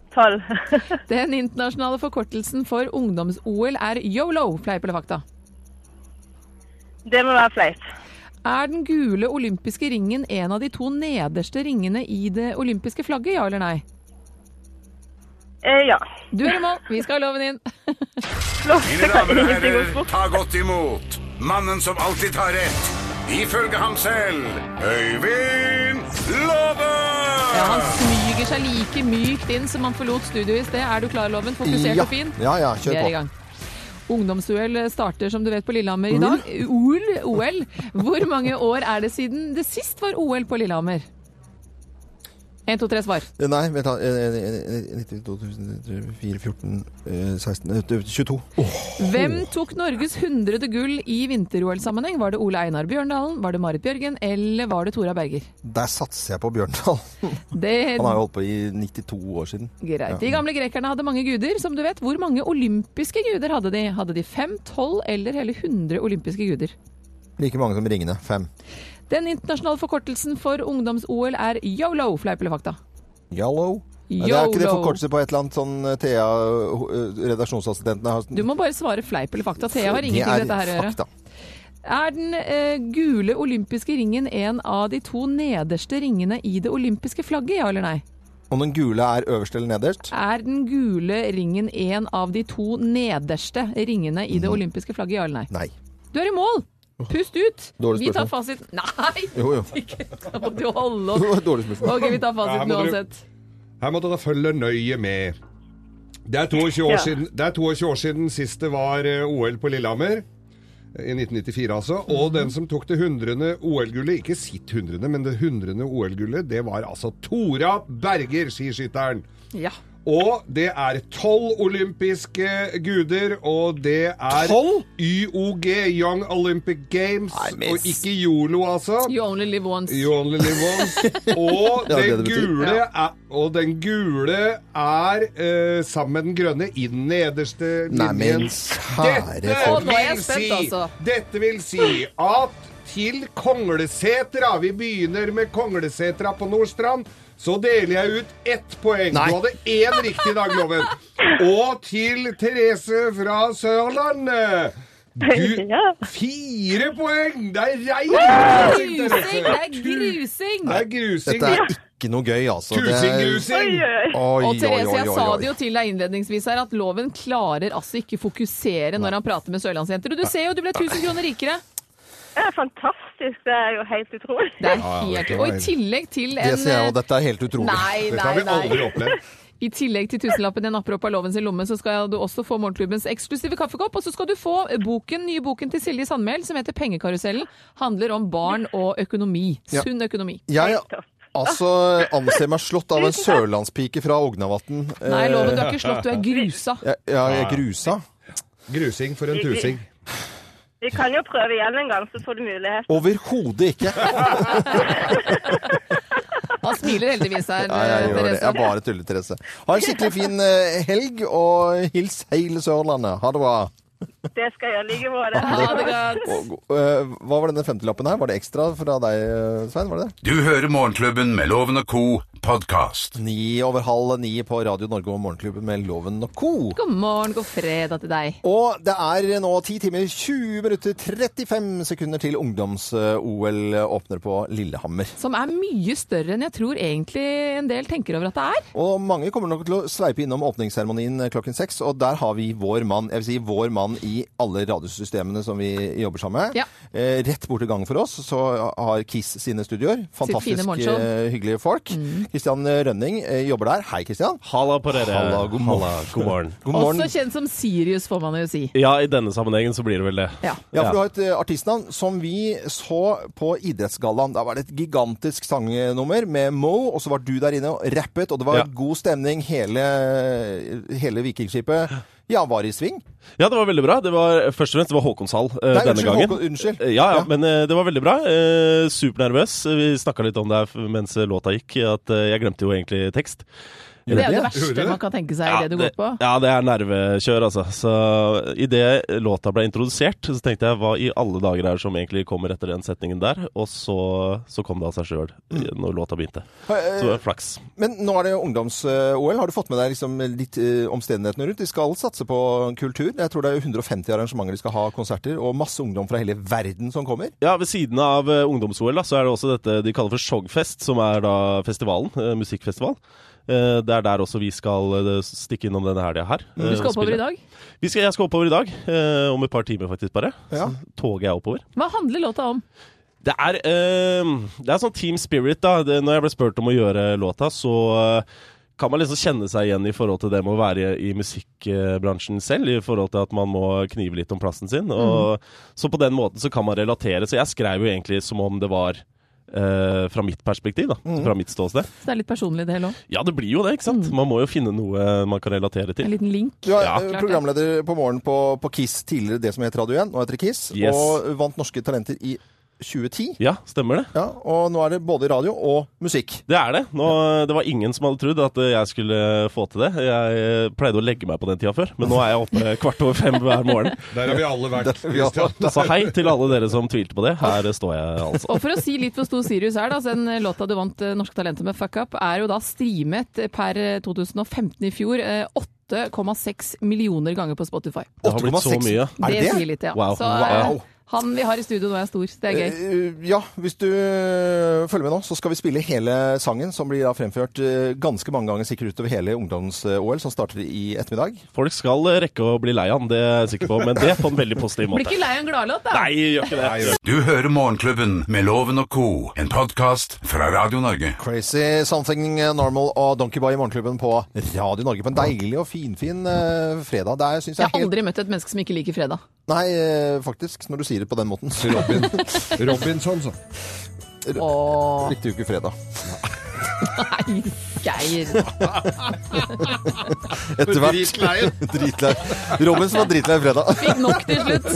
[SPEAKER 7] 12.
[SPEAKER 3] Den internasjonale forkortelsen for ungdoms-OL er YOLO, fleip eller fakta.
[SPEAKER 7] Det må være fleip.
[SPEAKER 3] Er den gule olympiske ringen en av de to nederste ringene i det olympiske flagget, ja eller nei?
[SPEAKER 7] Eh, ja.
[SPEAKER 3] Du er i mål, vi skal ha loven inn.
[SPEAKER 7] Flott.
[SPEAKER 1] Mine
[SPEAKER 7] Det kan
[SPEAKER 1] damer og
[SPEAKER 7] ingenting gå
[SPEAKER 1] herrer,
[SPEAKER 7] fort.
[SPEAKER 1] ta godt imot mannen som alltid tar rett. Ifølge ham selv Øyvind Låve!
[SPEAKER 3] Ja, han smyger seg like mykt inn som han forlot studio i sted. Er du klar, Loven? Fokusert
[SPEAKER 2] Ja.
[SPEAKER 3] og fin?
[SPEAKER 2] Ja, ja,
[SPEAKER 3] Vi
[SPEAKER 2] kjør
[SPEAKER 3] er i
[SPEAKER 2] på.
[SPEAKER 3] gang. Ungdomsduell starter som du vet på Lillehammer
[SPEAKER 2] Mm.
[SPEAKER 3] i dag. OL? OL. Hvor mange år er det siden det sist var OL på Lillehammer? 1, 2, 3, svar.
[SPEAKER 2] Nei, vent da. Eh, eh, eh, 90, 2000, 4, 14, eh, 16, eh, 22.
[SPEAKER 3] Hvem tok Norges 100. gull i vinter-OL-sammenheng? Var det Ole Einar Bjørndalen, var det Marit Bjørgen eller var det Tora Berger?
[SPEAKER 2] Der satser jeg på Bjørndal.
[SPEAKER 3] Det
[SPEAKER 2] Han har jo holdt på i 92 år siden.
[SPEAKER 3] Greit. De gamle grekerne hadde mange guder, som du vet. Hvor mange olympiske guder hadde de? Hadde de fem, tolv eller hele 100 olympiske guder?
[SPEAKER 2] Like mange som ringene. Fem.
[SPEAKER 3] Den internasjonale forkortelsen for ungdoms-OL er YOLO, fleip eller fakta.
[SPEAKER 2] Yellow. Nei, Det er ikke det
[SPEAKER 3] YOLO.
[SPEAKER 2] forkortelse på et eller annet sånn eh, Thea, eh, redaksjonsassistentene har
[SPEAKER 3] Du må bare svare fleip eller fakta. Thea har ingenting
[SPEAKER 2] er
[SPEAKER 3] med dette her å gjøre.
[SPEAKER 2] fakta.
[SPEAKER 3] Er den eh, gule olympiske ringen en av de to nederste ringene i det olympiske flagget, ja eller nei?
[SPEAKER 2] Om den gule er øverst eller nederst?
[SPEAKER 3] Er den gule ringen en av de to nederste ringene i
[SPEAKER 2] Mhm.
[SPEAKER 3] det olympiske flagget, ja eller nei?
[SPEAKER 2] Nei.
[SPEAKER 3] Du er i mål! Pust ut!
[SPEAKER 2] Dårlig
[SPEAKER 3] Vi tar
[SPEAKER 2] spørsmål.
[SPEAKER 3] fasiten. Nei!
[SPEAKER 2] Jo, jo.
[SPEAKER 3] Da må du
[SPEAKER 2] Det
[SPEAKER 3] holde opp.
[SPEAKER 2] var et dårlig spørsmål.
[SPEAKER 3] OK, vi tar
[SPEAKER 4] Ja,
[SPEAKER 3] fasiten
[SPEAKER 4] må dere-
[SPEAKER 3] uansett.
[SPEAKER 4] Her må dere følge nøye med. Det er 22 år,
[SPEAKER 7] Ja.
[SPEAKER 4] siden, det er 22 år siden sist det var eh, OL på Lillehammer. I 1994, altså. Og den som tok det 100. OL-gullet, ikke sitt 100., men det 100. OL-gullet, det var altså Tora Berger, skiskytteren.
[SPEAKER 3] Ja.
[SPEAKER 4] Og det er tolv olympiske eh, guder, og det er
[SPEAKER 2] Tolv?
[SPEAKER 4] YOG, Young Olympic Games,
[SPEAKER 2] Nei, men-
[SPEAKER 4] og ikke YOLO, altså.
[SPEAKER 3] You only live once.
[SPEAKER 4] You only live once. Og
[SPEAKER 2] Ja, det
[SPEAKER 4] den
[SPEAKER 2] det betyr.
[SPEAKER 4] gule er, og den gule er eh, sammen med den grønne i den nederste
[SPEAKER 2] Nei, men
[SPEAKER 4] linjen.
[SPEAKER 2] kjære
[SPEAKER 3] Å,
[SPEAKER 2] folk.
[SPEAKER 3] nå er jeg
[SPEAKER 4] vil
[SPEAKER 3] spent,
[SPEAKER 4] si-
[SPEAKER 3] altså.
[SPEAKER 4] Dette vil si at til Konglesetra Vi begynner med Konglesetra på Nordstrand. Så deler jeg ut ett poeng.
[SPEAKER 2] Nei.
[SPEAKER 4] Du hadde én riktig i dag, Loven. Og til Therese fra Sørlandet. Du
[SPEAKER 7] Ja.
[SPEAKER 4] Fire poeng! Det er rein
[SPEAKER 3] Grusing! Det er grusing!
[SPEAKER 4] Det er grusing.
[SPEAKER 2] Dette er ikke noe gøy, altså. Det
[SPEAKER 4] Grusing,
[SPEAKER 2] er-
[SPEAKER 4] grusing.
[SPEAKER 7] Oi, oi, oi.
[SPEAKER 2] Oi,
[SPEAKER 3] Og Therese,
[SPEAKER 2] oi, oi,
[SPEAKER 3] jeg
[SPEAKER 2] oi,
[SPEAKER 3] sa
[SPEAKER 2] oi.
[SPEAKER 3] det jo til deg innledningsvis her, at loven klarer altså ikke fokusere når han prater med sørlandsjenter. Og du ser jo, du ble 1000 kroner rikere.
[SPEAKER 7] Det er fantastisk. Det er jo helt utrolig.
[SPEAKER 3] Det er
[SPEAKER 4] ja,
[SPEAKER 3] helt
[SPEAKER 4] det var
[SPEAKER 3] Og i tillegg til en
[SPEAKER 2] Det ser jeg, og dette er helt utrolig.
[SPEAKER 3] Nei,
[SPEAKER 4] Dette
[SPEAKER 3] nei,
[SPEAKER 4] har vi aldri
[SPEAKER 3] nei.
[SPEAKER 4] opplevd.
[SPEAKER 3] I tillegg til tusenlappen jeg napper opp av loven sin lomme, så skal du også få Morgenklubbens eksklusive kaffekopp. Og så skal du få boken, nye boken til Silje Sandmæl som heter Pengekarusellen. Handler om barn og økonomi.
[SPEAKER 2] Ja.
[SPEAKER 3] Sunn økonomi.
[SPEAKER 2] Jeg
[SPEAKER 7] Topp.
[SPEAKER 2] altså, anser meg slått av en sørlandspike fra Ognavatn.
[SPEAKER 3] Nei,
[SPEAKER 2] Eh,
[SPEAKER 3] loven, du er ikke slått, du er grusa.
[SPEAKER 2] Jeg, jeg, jeg grusa.
[SPEAKER 4] Grusing for en tusing.
[SPEAKER 7] Vi kan jo prøve igjen en gang, så får du mulighet.
[SPEAKER 2] Overhodet ikke.
[SPEAKER 3] Han smiler heldigvis her,
[SPEAKER 2] Nei, jeg gjør det.
[SPEAKER 3] Therese.
[SPEAKER 2] Jeg bare tuller, Therese. Ha en skikkelig fin eh, helg, og hils hele Sørlandet. Ha det bra.
[SPEAKER 7] Det skal jeg gjøre like måte.
[SPEAKER 3] Ha det godt.
[SPEAKER 2] Og, eh, hva var denne femtilappen her? Var det ekstra fra deg, eh, Svein? Var det det?
[SPEAKER 1] Du hører Morgenklubben med Loven og Co. podkast.
[SPEAKER 2] Ni over halv ni på Radio Norge og Morgenklubben med Loven og co.
[SPEAKER 3] God morgen, god fredag til deg.
[SPEAKER 2] Og det er nå 10 timer, 20 minutter, 35 sekunder til ungdoms-OL åpner på Lillehammer.
[SPEAKER 3] Som er mye større enn jeg tror egentlig en del tenker over at det er.
[SPEAKER 2] Og mange kommer nok til å sveipe innom åpningsseremonien klokken seks, og der har vi vår mann, jeg vil si vår mann i alle radiosystemene som vi jobber sammen med.
[SPEAKER 3] Ja.
[SPEAKER 2] Eh, rett borte i gangen for oss så har Kiss sine studioer.
[SPEAKER 3] fine
[SPEAKER 2] Fantastisk
[SPEAKER 3] morgenshow. Mm.
[SPEAKER 2] eh, hyggelige folk. Kristian Rønning eh, jobber der. Hei, Kristian.
[SPEAKER 10] Eh, Halla på dere.
[SPEAKER 2] Halla, god morgen.
[SPEAKER 10] god morgen.
[SPEAKER 2] God morgen.
[SPEAKER 3] Også kjent som Sirius, får man jo si.
[SPEAKER 10] Ja, i denne sammenhengen så blir det vel det.
[SPEAKER 3] Ja.
[SPEAKER 2] Ja, for du har et eh, artistnavn som vi så på Idrettsgallaen. Da var det et gigantisk sangnummer med Mo, og så var du der inne og rappet, og det var
[SPEAKER 10] Ja.
[SPEAKER 2] god stemning. Hele, hele Vikingskipet ja, var i sving.
[SPEAKER 10] Ja, det var veldig bra. Det var først og fremst det var Håkonshall eh,
[SPEAKER 2] Nei,
[SPEAKER 10] denne
[SPEAKER 2] unnskyld,
[SPEAKER 10] gangen.
[SPEAKER 2] Håkon- unnskyld.
[SPEAKER 10] Eh, Ja, ja,
[SPEAKER 2] Ja.
[SPEAKER 10] men eh, det var veldig bra. Eh, Supernervøs. Vi snakka litt om det her f- mens eh, låta gikk, at eh, jeg glemte jo egentlig tekst.
[SPEAKER 3] Det er jo det
[SPEAKER 2] det?
[SPEAKER 4] Gjorde
[SPEAKER 3] verste
[SPEAKER 4] det?
[SPEAKER 3] man kan tenke seg i det du går på.
[SPEAKER 10] ja, det er nervekjør, altså. Så idet låta ble introdusert, så tenkte jeg hva i alle dager er det som egentlig kommer etter den setningen der? Og så, så kom det av seg sjøl
[SPEAKER 3] Mm.
[SPEAKER 10] når låta begynte. Så det var flaks.
[SPEAKER 2] Eh, Men nå er det ungdoms-OL. Har du fått med deg liksom litt eh, omstendighetene rundt? De skal satse på kultur. Jeg tror det er 150 arrangementer de skal ha konserter, og masse ungdom fra hele verden som kommer.
[SPEAKER 10] Ja, Ved siden av eh, ungdoms-OL da, så er det også dette de kaller for Sjogfest, som er da festivalen. eh, Musikkfestival. Eh, Det er der også vi skal eh, stikke innom denne helga her. eh,
[SPEAKER 3] Du Mm. skal oppover i dag.
[SPEAKER 10] Vi skal, jeg skal oppover i dag. eh, Om et par timer, faktisk, bare.
[SPEAKER 2] Ja.
[SPEAKER 10] Så toger jeg oppover.
[SPEAKER 3] Hva handler låta om?
[SPEAKER 10] Det er, eh, det er sånn team spirit, da. Det, når jeg ble spurt om å gjøre låta, så eh, kan man liksom kjenne seg igjen i forhold til det med å være i, i musikkbransjen selv, i forhold til at man må knive litt om plassen sin. Og, Så på den måten så kan man relatere. Så jeg skrev jo egentlig som om det var eh, fra mitt perspektiv, da. Fra mitt ståsted.
[SPEAKER 3] Så det er litt personlig det hele òg.
[SPEAKER 10] Ja, det blir jo det, ikke sant? Man må jo finne noe man kan relatere
[SPEAKER 3] En
[SPEAKER 10] til.
[SPEAKER 3] liten link.
[SPEAKER 2] Du er
[SPEAKER 10] Ja.
[SPEAKER 2] eh, programleder på morgen på, på Kiss, tidligere det som het Radio 1, nå heter det Kiss,
[SPEAKER 10] Yes.
[SPEAKER 2] og vant Norske Talenter i 2010.
[SPEAKER 10] Ja, stemmer det.
[SPEAKER 2] Ja, og nå er det både radio og musikk.
[SPEAKER 10] Det er det. Nå, det var ingen som hadde trodd at eh, jeg skulle få til det. Jeg eh, pleide å legge meg på den tida før, men nå er jeg oppe kvart over fem hver morgen.
[SPEAKER 4] Der har vi alle vært.
[SPEAKER 2] har vi alle
[SPEAKER 4] Christian.
[SPEAKER 10] Så hei til alle dere som tvilte på det. Her står jeg, altså.
[SPEAKER 3] Og for å si litt hvor stor Sirius er, da, så den låta du vant eh, Norske Talenter med Fuck Up, er jo da streamet per 2015 i fjor eh, 8,6 millioner ganger på Spotify.
[SPEAKER 10] Det har blitt så
[SPEAKER 2] 8,6.
[SPEAKER 10] mye.
[SPEAKER 2] Er det det?
[SPEAKER 3] sier litt, ja.
[SPEAKER 10] Wow.
[SPEAKER 3] Så eh,
[SPEAKER 10] Wow.
[SPEAKER 3] han vi har i studio nå er stor, så det er gøy.
[SPEAKER 2] Eh, Ja, hvis du eh, følger med nå, så skal vi spille hele sangen, som blir da fremført eh, ganske mange ganger sikkert utover hele ungdoms-OL, som starter i ettermiddag.
[SPEAKER 10] Folk skal eh, rekke å bli lei av han, det er jeg sikker på, men det på en veldig positiv
[SPEAKER 3] Blir
[SPEAKER 10] måte.
[SPEAKER 3] ikke lei av en gladlåt, da.
[SPEAKER 10] Nei, gjør ikke det.
[SPEAKER 1] Du hører Morgenklubben med Loven og co., en podkast fra Radio Norge.
[SPEAKER 2] Crazy Something Normal og Donkey Boy i Morgenklubben på Radio Norge på en deilig og finfin eh, fredag. Det er, synes
[SPEAKER 3] Jeg
[SPEAKER 2] jeg,
[SPEAKER 3] har
[SPEAKER 2] helt
[SPEAKER 3] aldri møtt et menneske som ikke liker fredag.
[SPEAKER 2] Nei, eh, faktisk, når du sier det på den måten.
[SPEAKER 4] Robin. Robinson, så.
[SPEAKER 3] Åh,
[SPEAKER 2] Likte jo ikke fredag.
[SPEAKER 3] nei, Geir.
[SPEAKER 2] Etter hvert. Dritlei. Robin som var dritlei fredag.
[SPEAKER 3] Fikk nok til slutt.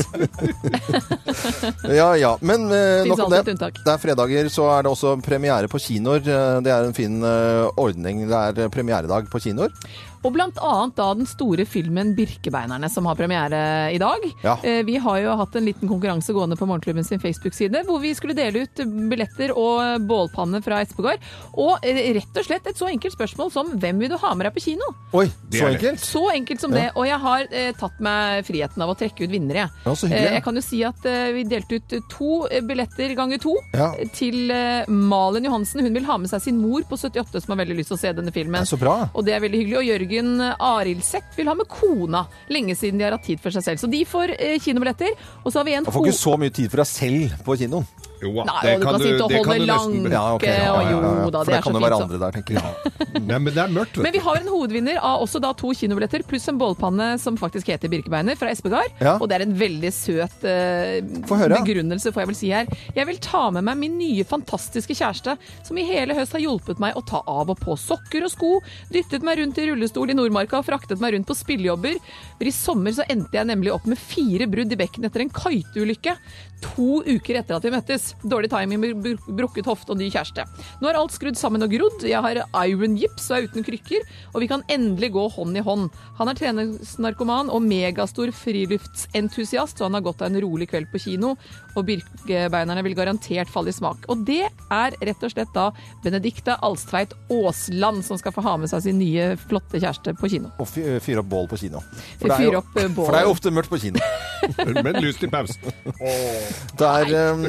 [SPEAKER 2] Ja, ja. Men eh, nok om
[SPEAKER 3] alltid et
[SPEAKER 2] det.
[SPEAKER 3] unntak.
[SPEAKER 2] Det er fredager, så er det også premiere på kinoer. Eh, Det er en fin eh, ordning. Det er eh, premieredag på kinoer.
[SPEAKER 3] Og blant annet da den store filmen 'Birkebeinerne' som har premiere i dag.
[SPEAKER 2] Ja.
[SPEAKER 3] Eh, Vi har jo hatt en liten konkurranse gående på Morgenklubben sin Facebook-side, hvor vi skulle dele ut billetter og bålpanne fra Espegård. Og eh, rett og slett et så enkelt spørsmål som 'Hvem vil du ha med deg på kino?'
[SPEAKER 2] Oi, så
[SPEAKER 4] er det.
[SPEAKER 2] enkelt.
[SPEAKER 3] Så enkelt som det. Og jeg har eh, tatt meg friheten av å trekke ut vinnere. jeg.
[SPEAKER 2] Ja, så hyggelig.
[SPEAKER 3] Eh, jeg kan jo si at eh, vi delte ut to eh, billetter ganger to
[SPEAKER 2] Ja.
[SPEAKER 3] eh, til eh, Malen Johansen. Hun vil ha med seg sin mor på 78 som har veldig lyst til å se denne filmen.
[SPEAKER 2] Ja, så bra.
[SPEAKER 3] Og det er veldig hyggelig. Og Jørgen Arildseth vil ha med kona. Lenge siden de har hatt tid for seg selv. Så de får eh, kinobilletter. Og så har vi en
[SPEAKER 2] Man får
[SPEAKER 3] ho-
[SPEAKER 2] ikke så mye tid for deg selv på kinoen.
[SPEAKER 4] Jo,
[SPEAKER 3] Nei, og du kan sitte og holde lanke,
[SPEAKER 2] Ja, ok. Ja,
[SPEAKER 3] og
[SPEAKER 2] ja,
[SPEAKER 3] jo
[SPEAKER 2] ja, ja.
[SPEAKER 3] da,
[SPEAKER 2] For
[SPEAKER 3] det
[SPEAKER 2] det
[SPEAKER 3] er
[SPEAKER 2] kan jo
[SPEAKER 3] så fint.
[SPEAKER 2] være
[SPEAKER 3] så.
[SPEAKER 2] andre der, tenker jeg.
[SPEAKER 4] Nei, men det er mørkt,
[SPEAKER 3] Men
[SPEAKER 4] vet du.
[SPEAKER 3] vi har en hovedvinner av også da to kinobilletter pluss en bålpanne som faktisk heter Birkebeiner fra Espegard.
[SPEAKER 2] Ja.
[SPEAKER 3] Og det er en veldig søt eh,
[SPEAKER 2] Få høre.
[SPEAKER 3] begrunnelse, får jeg vel si her. Jeg vil ta med meg min nye fantastiske kjæreste, som i hele høst har hjulpet meg å ta av og på sokker og sko, dyttet meg rundt i rullestol i Nordmarka og fraktet meg rundt på spillejobber. For i sommer så endte jeg nemlig opp med fire brudd i bekken etter en kiteulykke. To uker etter at vi møttes. Dårlig timing med br- brukket hofte og ny kjæreste. Nå er alt skrudd sammen og grodd. Jeg har iron gips og er uten krykker, og vi kan endelig gå hånd i hånd. Han er treningsnarkoman og megastor friluftsentusiast, så han har godt av en rolig kveld på kino. og birkebeinerne vil garantert falle i smak. Og det er rett og slett da Benedicte Alstveit Aasland som skal få ha med seg sin nye flotte kjæreste på kino.
[SPEAKER 2] Og fy- fyre opp bål på kino. det
[SPEAKER 3] Vi
[SPEAKER 2] er
[SPEAKER 3] fyrer
[SPEAKER 2] jo,
[SPEAKER 3] opp, eh, bål.
[SPEAKER 2] for det er jo ofte mørkt på kino.
[SPEAKER 4] Men lyst i pausen.
[SPEAKER 2] Det er um,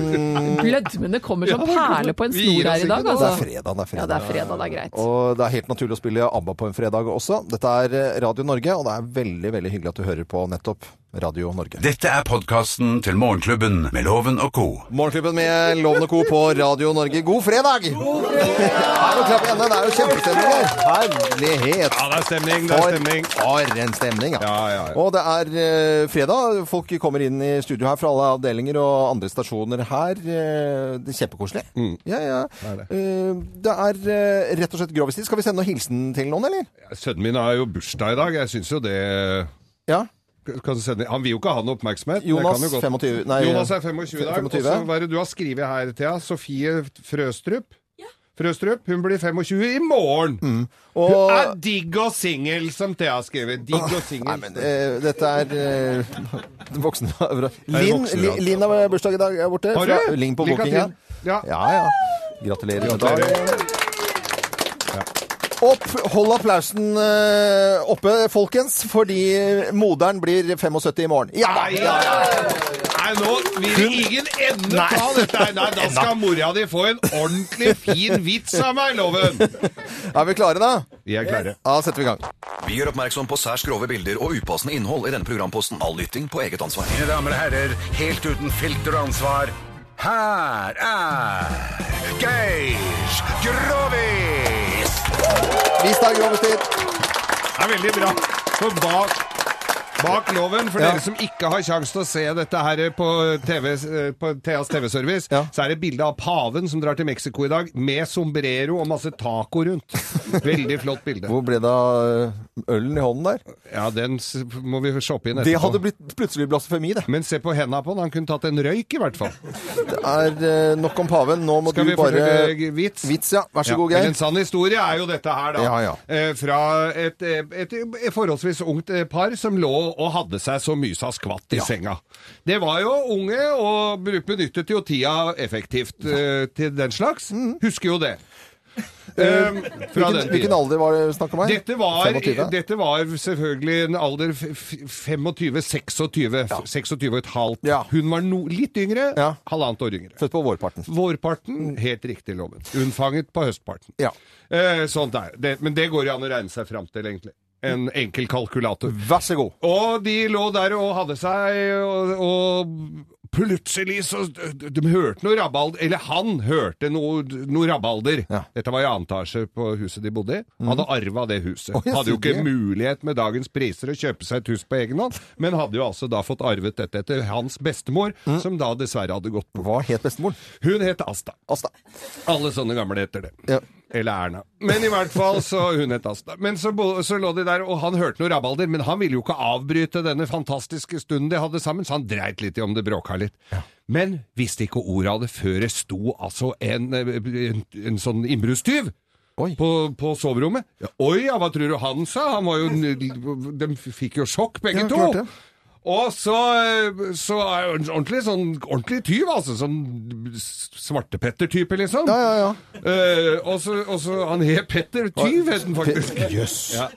[SPEAKER 3] Blødmene kommer som
[SPEAKER 2] Ja, det er-
[SPEAKER 3] perler på en
[SPEAKER 2] Vi gir
[SPEAKER 3] snor
[SPEAKER 2] oss
[SPEAKER 3] her i
[SPEAKER 2] ikke
[SPEAKER 3] dag,
[SPEAKER 2] nå.
[SPEAKER 3] altså.
[SPEAKER 2] Det er fredag, det er fredag.
[SPEAKER 3] Ja, det er fredag, det er greit.
[SPEAKER 2] Og det er helt naturlig å spille ABBA på en fredag også. Dette er eh, Radio Norge, og det er veldig veldig hyggelig at du hører på nettopp Radio Norge.
[SPEAKER 1] Dette er podkasten til Morgenklubben med Loven og co.
[SPEAKER 2] Morgenklubben med Loven og Co. på Radio Norge. God fredag! God fredag! Det er jo kjempestemning her. Herlighet.
[SPEAKER 4] Ja, det er stemning, det er stemning.
[SPEAKER 2] For, for en stemning, ja.
[SPEAKER 4] ja,
[SPEAKER 2] Og det er eh, fredag. Folk kommer inn i studio her fra alle avdelinger og andre stasjoner her. Eh, det er kjempekoselig. Ja, ja.
[SPEAKER 4] Mm. det.
[SPEAKER 2] Eh, det er eh, rett og slett grovistid. Skal vi sende noen hilsen til noen, eller?
[SPEAKER 4] Sønnen min har jo bursdag i dag. Jeg syns jo det
[SPEAKER 2] Ja.
[SPEAKER 4] Kan du sende, han vil jo ikke ha noe oppmerksomhet. men jeg
[SPEAKER 2] Jonas
[SPEAKER 4] kan jo godt-
[SPEAKER 2] 25 nei, eh,
[SPEAKER 4] Jonas er 25 i dag.
[SPEAKER 2] 25.
[SPEAKER 4] Og så hva er det du har skrevet her, Thea? Sofie Frøstrup. Frøstrup, Hun blir 25 i morgen!
[SPEAKER 2] Mm.
[SPEAKER 4] Hun er digg og singel, som Thea har skrevet. Digg og
[SPEAKER 2] Nei,
[SPEAKER 4] singel.
[SPEAKER 2] men eh, dette er uh, voksne Linn
[SPEAKER 4] voksne, ja.
[SPEAKER 2] Lin, Linn har bursdag i dag er borte.
[SPEAKER 4] Har du?
[SPEAKER 2] Fra- Linn på
[SPEAKER 4] Lykke
[SPEAKER 2] booking, ja.
[SPEAKER 4] til. Ja.
[SPEAKER 2] ja. ja. Gratulerer med
[SPEAKER 4] Gratulerer.
[SPEAKER 2] dagen. Opp, hold applausen eh, oppe, folkens, fordi moderen blir 75 i morgen. Ja!
[SPEAKER 4] Nei, ja, ja. Nei, nå vil ingen ende ta dette her. Nei, da skal mora di få en ordentlig fin vits av meg, Loven.
[SPEAKER 2] Er vi klare, da?
[SPEAKER 4] Vi er klare.
[SPEAKER 2] Da setter vi i gang.
[SPEAKER 11] Vi gjør oppmerksom på særs grove bilder og upassende innhold i denne programposten. All lytting på eget ansvar.
[SPEAKER 1] Mine damer og herrer, helt uten filter og ansvar, her er Geir Grovis!
[SPEAKER 2] Visdag Grovestid.
[SPEAKER 4] Det er veldig bra. For bak, bak loven, for
[SPEAKER 2] Ja.
[SPEAKER 4] dere som ikke har sjanse til å se dette her på, TV, eh, på Theas TV-service, så er det bilde av paven som drar til Mexico i dag, med sombrero og masse taco rundt. Veldig flott bilde.
[SPEAKER 2] Hvor ble det av eh, ølen i hånden der?
[SPEAKER 4] Ja, den s- må vi shoppe inn
[SPEAKER 2] Det hadde
[SPEAKER 4] etterpå.
[SPEAKER 2] blitt plutselig blasfemi, det.
[SPEAKER 4] Men se på henda på han. Han kunne tatt en røyk, i hvert fall.
[SPEAKER 2] Det er eh, nok om paven. Nå må
[SPEAKER 4] Skal
[SPEAKER 2] du
[SPEAKER 4] vi eh,
[SPEAKER 2] bare
[SPEAKER 4] fortelle vits?
[SPEAKER 2] Vits, ja. Vær så
[SPEAKER 4] Ja,
[SPEAKER 2] god,
[SPEAKER 4] men
[SPEAKER 2] Geir.
[SPEAKER 4] En sann historie er jo dette her, da.
[SPEAKER 2] Ja, ja.
[SPEAKER 4] Eh, fra et, eh, et, eh, forholdsvis ungt eh, par som lå og hadde seg så mysa skvatt i senga. Det var jo unge, og bru- benyttet jo tida effektivt eh, til den slags. Husker jo det. Eh, fra
[SPEAKER 2] Mm. Hvilken,
[SPEAKER 4] den
[SPEAKER 2] hvilken
[SPEAKER 4] tiden.
[SPEAKER 2] alder var det snakk om her?
[SPEAKER 4] Dette var,
[SPEAKER 2] 25?
[SPEAKER 4] dette var selvfølgelig en alder 25-26, 26 og et halvt.
[SPEAKER 2] Ja.
[SPEAKER 4] Hun var no, litt yngre,
[SPEAKER 2] Ja.
[SPEAKER 4] halvannet år yngre.
[SPEAKER 2] Født på vårparten.
[SPEAKER 4] Vårparten, helt riktig loven. Unnfanget på høstparten.
[SPEAKER 2] Ja.
[SPEAKER 4] Eh, sånt er det. Men det går jo an å regne seg fram til, egentlig. En enkel kalkulator.
[SPEAKER 2] Vær så god.
[SPEAKER 4] Og de lå der og hadde seg, og, og plutselig så de, de hørte noe rabalder Eller han hørte noe, noe rabalder.
[SPEAKER 2] Ja. Mhm.
[SPEAKER 4] Dette var i annen etasje på huset de bodde i. Hadde arva det huset.
[SPEAKER 2] Å, ja,
[SPEAKER 4] hadde jo
[SPEAKER 2] så
[SPEAKER 4] ikke
[SPEAKER 2] det.
[SPEAKER 4] mulighet med dagens priser å kjøpe seg et hus på egen hånd, men hadde jo altså da fått arvet dette etter hans bestemor,
[SPEAKER 2] Mhm.
[SPEAKER 4] som da dessverre hadde gått bort.
[SPEAKER 2] Hva het bestemoren?
[SPEAKER 4] Hun het Asta.
[SPEAKER 2] Asta.
[SPEAKER 4] Alle sånne gamle heter det.
[SPEAKER 2] Ja.
[SPEAKER 4] Eller Erna. Men i hvert fall så hun het Asta. Men så, bo, så lå de der, og han hørte noe rabalder, men han ville jo ikke avbryte denne fantastiske stunden de hadde sammen, så han dreit litt i om det bråka litt. Men visste ikke ordet av det før det sto altså en, eh, en, en sånn innbruddstyv.
[SPEAKER 2] Oi.
[SPEAKER 4] På, på soverommet. Ja, Oi ja, hva tror du han sa? Han var jo, de fikk jo sjokk, begge
[SPEAKER 2] Ja,
[SPEAKER 4] to.
[SPEAKER 2] klart det.
[SPEAKER 4] Og så, eh, så er jo en ordentlig, sånn, ordentlig tyv, altså. Sånn svartepetter-type, liksom.
[SPEAKER 2] Ja, ja, ja.
[SPEAKER 4] Eh, og så, og så han het Petter Tyv, het han faktisk.
[SPEAKER 2] Jøss.
[SPEAKER 4] Ja.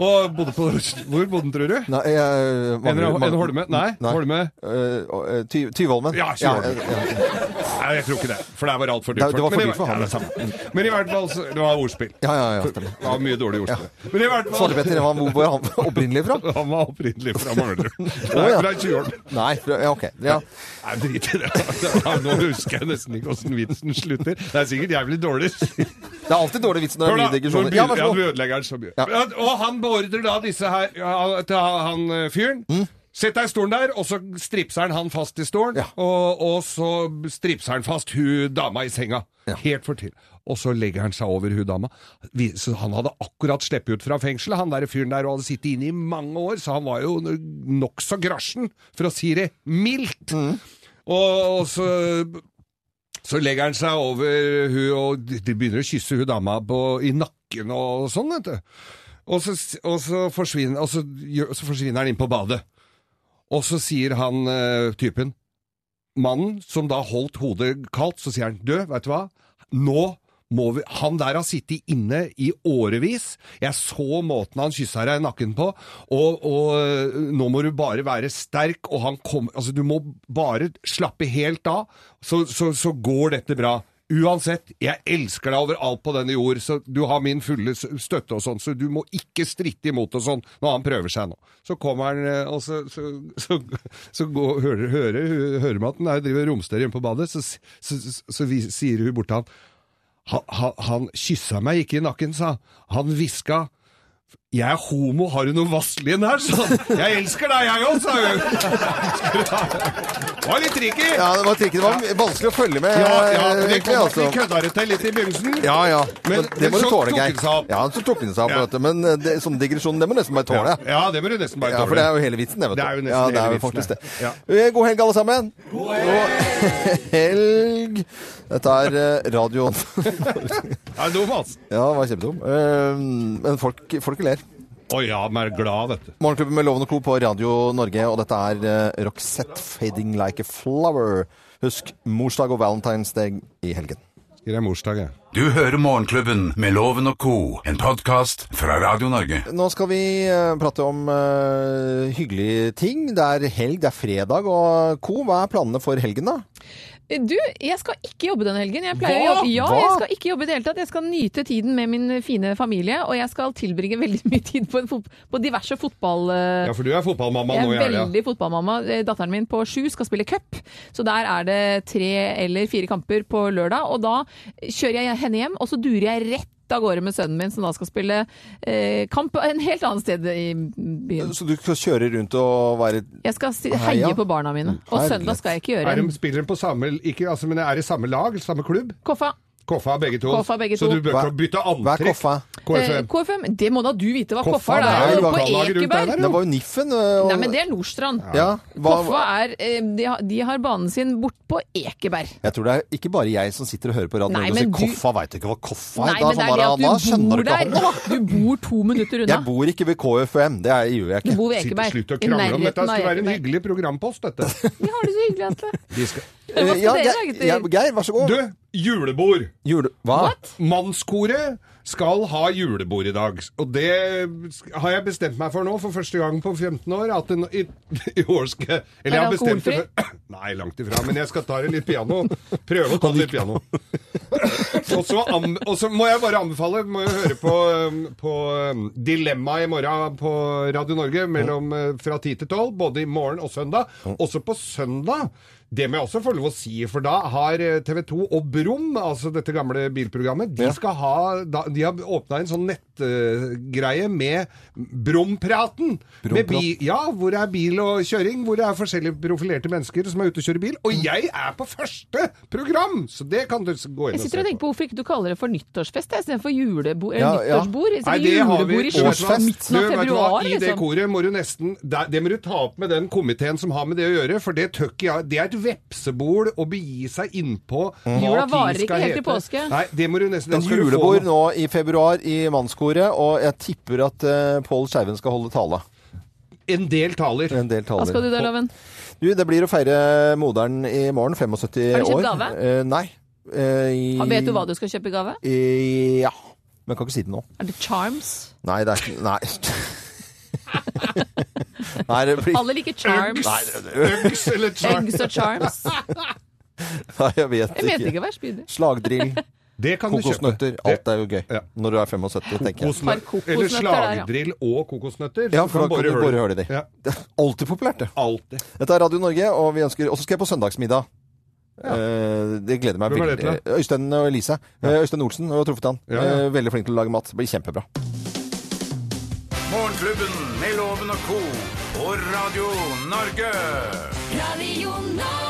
[SPEAKER 4] Og bodde på Hvor bodde han, tror du?
[SPEAKER 2] Nei, jeg
[SPEAKER 4] En,
[SPEAKER 2] mangler-
[SPEAKER 4] en Holme? Nei, Holme.
[SPEAKER 2] Eh, og, eh, Ty- Tyvholmen.
[SPEAKER 4] Ja, Tyvholmen. Nei, jeg tror ikke det. For der var altfor dyrt.
[SPEAKER 2] Det- det var for
[SPEAKER 4] Men i
[SPEAKER 2] dyrt for
[SPEAKER 4] hver-
[SPEAKER 2] han. liksom.
[SPEAKER 4] Ja, det er samme. Men i hvert fall så, Det var ordspill.
[SPEAKER 2] Ja, ja, ja.
[SPEAKER 4] Det
[SPEAKER 2] stemmer.
[SPEAKER 4] var mye dårlige ordspill. Men i hvert fall
[SPEAKER 2] Svartepetter, han- hvor var han opprinnelig fra?
[SPEAKER 4] Han var opprinnelig fra Manglerud.
[SPEAKER 2] Å, ja.
[SPEAKER 4] Nei, Fra 20-åren.
[SPEAKER 2] Nei, fra- ja, OK. Ja.
[SPEAKER 4] Nei, drit i det. Ja, Nå husker jeg nesten ikke åssen vitsen slutter. Det er sikkert jævlig dårlig.
[SPEAKER 2] Det er alltid dårlig vits når det
[SPEAKER 4] Hør
[SPEAKER 2] er mye
[SPEAKER 4] da, nå
[SPEAKER 2] digresjoner. Ja,
[SPEAKER 4] begynner-
[SPEAKER 2] vær
[SPEAKER 4] ja,
[SPEAKER 2] så
[SPEAKER 4] du
[SPEAKER 2] god.
[SPEAKER 4] ødelegger den så mye.
[SPEAKER 2] Ja.
[SPEAKER 4] Ja, Og han beordrer da disse her ja, til han eh, fyren. Sett deg i stolen der, og så stripser han han fast i stolen.
[SPEAKER 2] Mm. Ja.
[SPEAKER 4] Og, og så stripser han fast hun dama i senga. Helt fortid. Og så legger han seg over hun dama. Vi- Så han hadde akkurat sluppet ut fra fengselet, han der fyren der, og hadde sittet inne i mange år, så han var jo nokså grasjen, for å si det mildt.
[SPEAKER 2] Mm.
[SPEAKER 4] Og, og så så legger han seg over hun, og de- de begynner å kysse hun dama på, i nakken og sånn, vet du. Og så, s- og så, forsvinner, og så, gjør- så forsvinner han inn på badet. Og så sier han eh, typen mannen som da holdt hodet kaldt, så sier han Du, vet du hva? Nå må vi Han der har sittet inne i årevis. Jeg så måten han kyssa deg i nakken på. Og, og øh, nå må du bare være sterk, og han kommer Altså, du må bare slappe helt av, så, så, så går dette bra. Uansett, jeg elsker deg overalt på denne jord, så du har min fulle s- støtte og sånn, så du må ikke stritte imot og sånn når han prøver seg nå. Så kommer han, eh, og så, så, så, så går, hører, hører, hører man at han er- driver og romsterer hjemme på badet, så, s- så, så, så vi, sier hun bort til han, han, han, han kyssa meg ikke i nakken, sa han. Han hviska. Jeg er homo, har du noe vaselin her? sa han. Jeg elsker deg, jeg òg, sa hun. Det var litt tricky.
[SPEAKER 2] Ja, det var tricky. Det var vanskelig å følge med,
[SPEAKER 4] Ja, ja, men det
[SPEAKER 2] egentlig,
[SPEAKER 4] kom at vi
[SPEAKER 2] Eh, altså.
[SPEAKER 4] kødda det til litt i begynnelsen.
[SPEAKER 2] Ja, ja.
[SPEAKER 4] Men-
[SPEAKER 2] Men, det må
[SPEAKER 4] men
[SPEAKER 2] du
[SPEAKER 4] så
[SPEAKER 2] tåle,
[SPEAKER 4] tok
[SPEAKER 2] Geir.
[SPEAKER 4] den seg opp.
[SPEAKER 2] Ja, så tok den seg opp. vet du. Men eh, det, sånn digresjon, det må du nesten bare tåle.
[SPEAKER 4] Ja, det må du nesten bare
[SPEAKER 2] Ja,
[SPEAKER 4] tåle.
[SPEAKER 2] for det er jo hele vitsen, det, vet du.
[SPEAKER 4] Det er jo nesten
[SPEAKER 2] ja, det er
[SPEAKER 4] hele
[SPEAKER 2] jo
[SPEAKER 4] vitsen,
[SPEAKER 2] faktisk det.
[SPEAKER 4] ja.
[SPEAKER 2] Eh, God helg, alle sammen. God helg! Dette er eh, radioen.
[SPEAKER 4] Det er dum, altså.
[SPEAKER 2] ja, det var kjempedum. Eh, Men folk, folk ler.
[SPEAKER 4] Å ja, men er glad, vet du.
[SPEAKER 2] Morgenklubben med Loven og Co. på Radio Norge, og dette er eh, Roxette Fading Like a Flower. Husk morsdag og Valentine's Day i helgen.
[SPEAKER 4] Det er morsdag, jeg.
[SPEAKER 1] Du hører Morgenklubben med Loven og Co., en podkast fra Radio Norge.
[SPEAKER 2] Nå skal vi eh, prate om eh, hyggelige ting. Det er helg, det er fredag. Og Co, hva er planene for helgen, da?
[SPEAKER 3] Du, jeg skal ikke jobbe denne helgen. Jeg pleier
[SPEAKER 2] Hva?
[SPEAKER 3] å jobbe. Ja,
[SPEAKER 2] Hva?
[SPEAKER 3] jeg skal ikke jobbe i det hele tatt. Jeg skal nyte tiden med min fine familie, og jeg skal tilbringe veldig mye tid på, en fot på diverse fotball... eh,
[SPEAKER 4] Ja, for du er fotballmamma
[SPEAKER 3] jeg
[SPEAKER 4] nå i
[SPEAKER 3] er
[SPEAKER 4] helga.
[SPEAKER 3] veldig fotballmamma. Eh, Datteren min på sju skal spille cup, så der er det tre eller fire kamper på lørdag. Og da kjører jeg henne hjem, og så durer jeg rett av gårde med sønnen min, som da skal spille eh, kamp en helt annet sted i
[SPEAKER 2] Eh,
[SPEAKER 3] byen.
[SPEAKER 2] Så du skal kjøre rundt og være
[SPEAKER 3] Jeg skal si-
[SPEAKER 2] Heia.
[SPEAKER 3] heie på barna mine, og
[SPEAKER 2] Herlighet.
[SPEAKER 3] søndag skal jeg ikke gjøre
[SPEAKER 4] Er de
[SPEAKER 3] en
[SPEAKER 4] spiller de på samme ikke, altså, men er det samme lag, samme klubb?
[SPEAKER 3] koffa.
[SPEAKER 4] Koffa begge to.
[SPEAKER 3] Koffa, begge
[SPEAKER 4] så
[SPEAKER 3] to.
[SPEAKER 4] du bør ikke bytte antrekk.
[SPEAKER 2] Hva er Koffa?
[SPEAKER 3] Eh,
[SPEAKER 4] KFM.
[SPEAKER 3] KFM, det må da du vite hva
[SPEAKER 4] Koffa,
[SPEAKER 3] Koffa er.
[SPEAKER 4] det er
[SPEAKER 3] Det er
[SPEAKER 4] jo
[SPEAKER 3] jo på
[SPEAKER 4] lokallaget rundt der,
[SPEAKER 3] Ekeberg.
[SPEAKER 4] er det
[SPEAKER 2] Det var jo Niffen. eh, og-
[SPEAKER 3] Nei, men det er Nordstrand.
[SPEAKER 2] Ja, hva-
[SPEAKER 3] Koffa er eh, de, har, de har banen sin bort på Ekeberg.
[SPEAKER 2] Jeg tror det er ikke bare jeg som sitter og hører på Radio
[SPEAKER 3] Nei,
[SPEAKER 2] Norge og sier
[SPEAKER 3] men du-
[SPEAKER 2] 'Koffa veit du ikke hva Koffa er'?
[SPEAKER 3] Nei, men det er det
[SPEAKER 2] da, da
[SPEAKER 3] at du
[SPEAKER 2] skjønner
[SPEAKER 3] bor
[SPEAKER 2] du ikke
[SPEAKER 3] der.
[SPEAKER 2] han.
[SPEAKER 3] Åh, du bor to minutter unna.
[SPEAKER 2] Jeg bor ikke ved KFUM, det er- gjør jeg
[SPEAKER 3] Du
[SPEAKER 2] ikke.
[SPEAKER 3] bor ved Ekeberg.
[SPEAKER 4] Slutt å
[SPEAKER 3] i
[SPEAKER 4] krangle om dette.
[SPEAKER 3] nærheten
[SPEAKER 4] Det
[SPEAKER 3] av
[SPEAKER 4] skal være en
[SPEAKER 3] Ekeberg.
[SPEAKER 4] hyggelig programpost, dette.
[SPEAKER 3] Vi har det så hyggelig, altså. Atle.
[SPEAKER 4] De skal...
[SPEAKER 3] Men hva skal
[SPEAKER 2] Ja,
[SPEAKER 3] dere
[SPEAKER 2] Geir-
[SPEAKER 3] lage til-
[SPEAKER 2] ja, Geir, vær så god.
[SPEAKER 4] Du, julebord!
[SPEAKER 2] Jule... Hva?
[SPEAKER 4] Mannskoret skal ha julebord i dag. Og det har jeg bestemt meg for nå, for første gang på 15 år, at en, i, i år skal Eller jeg har
[SPEAKER 3] Er det
[SPEAKER 4] bestemt det for Nei, langt ifra. Men jeg skal ta det litt piano. Prøve å ta det litt piano. Og så, an, og så må jeg bare anbefale må jeg høre på, um, på um, Dilemma i morgen på Radio Norge mellom, uh, fra 10 til 12, både i morgen og søndag. Også på søndag. Det må jeg også få lov å si, for da har eh, TV 2 og Brum, altså dette gamle bilprogrammet, de, skal ha, da, de har åpna en sånn nettgreie med Brumpraten. Med bi, ja, hvor er bil og kjøring? Hvor det er forskjellige profilerte mennesker som er ute og kjører bil.
[SPEAKER 3] Mm.
[SPEAKER 4] Og jeg er på første program! Så det kan du s- gå inn
[SPEAKER 3] Jeg
[SPEAKER 4] og se
[SPEAKER 3] sitter og
[SPEAKER 4] på.
[SPEAKER 3] tenker på hvorfor ikke du kaller det for nyttårsfest jeg, istedenfor julebo eller
[SPEAKER 4] Ja, ja.
[SPEAKER 3] nyttårsbord.
[SPEAKER 4] Nei,
[SPEAKER 3] Istedenfor
[SPEAKER 4] det har vi.
[SPEAKER 3] julebord i slutten av
[SPEAKER 4] Årsfest.
[SPEAKER 3] midten av
[SPEAKER 4] Du, vet du hva?
[SPEAKER 3] februar.
[SPEAKER 4] I det
[SPEAKER 3] Liksom.
[SPEAKER 4] koret må du nesten Det, det må du ta opp med den komiteen som har med det å gjøre, for det tør ikke jeg. Det er et vepsebol å begi seg innpå. hva
[SPEAKER 3] Mm. Jula
[SPEAKER 4] ting
[SPEAKER 3] varer ikke
[SPEAKER 4] skal
[SPEAKER 3] helt til
[SPEAKER 4] hete.
[SPEAKER 3] påske.
[SPEAKER 4] Nei, det må du nesten
[SPEAKER 2] En
[SPEAKER 4] da skal du få
[SPEAKER 2] julebord
[SPEAKER 4] noe-
[SPEAKER 2] nå i februar i mannskoret, og jeg tipper at uh, Pål Skeiven skal holde tale.
[SPEAKER 4] En del taler.
[SPEAKER 2] En del taler.
[SPEAKER 3] Hva skal du da, Loven?
[SPEAKER 2] Du, det blir å feire moderen i morgen, 75 år.
[SPEAKER 3] Har du kjøpt gave?
[SPEAKER 2] Eh, nei. Eh, i,
[SPEAKER 3] Ha- Vet du hva du skal kjøpe i gave?
[SPEAKER 2] I, ja. Men jeg kan ikke si det nå.
[SPEAKER 3] Er det charms?
[SPEAKER 2] Nei, det er ikke Nei. nei, det blir
[SPEAKER 3] Alle liker charms.
[SPEAKER 2] Nei, det- det-
[SPEAKER 4] Uggs eller charm.
[SPEAKER 3] Eggs og charms.
[SPEAKER 2] nei, jeg vet
[SPEAKER 3] Jeg mente ikke
[SPEAKER 2] ikke.
[SPEAKER 3] å være spydig.
[SPEAKER 2] Slagdrill,
[SPEAKER 4] Det kan du kjøpe.
[SPEAKER 2] kokosnøtter. Alt er jo gøy når du er 75, tenker jeg.
[SPEAKER 4] Kokosnø-
[SPEAKER 3] Par kokosnøtter
[SPEAKER 4] eller
[SPEAKER 3] der, ja.
[SPEAKER 4] slagdrill og kokosnøtter.
[SPEAKER 2] Ja,
[SPEAKER 4] så
[SPEAKER 2] for da kan du
[SPEAKER 4] høre
[SPEAKER 2] bare
[SPEAKER 4] det.
[SPEAKER 2] høre det.
[SPEAKER 4] Ja,
[SPEAKER 2] Det er alltid populært, det.
[SPEAKER 4] alltid.
[SPEAKER 2] Dette er Radio Norge, og vi ønsker Og så skal jeg på søndagsmiddag. Eh, Det gleder meg
[SPEAKER 4] Hvem er det
[SPEAKER 2] veldig. Øystein og Elise. Eh, Øystein Olsen, jeg har truffet han.
[SPEAKER 4] Ja, ja.
[SPEAKER 2] Eh, Veldig flink til å lage mat. Det blir kjempebra.
[SPEAKER 1] Morgenklubben med Loven og Co. på Radio Norge.
[SPEAKER 12] Radio Norge.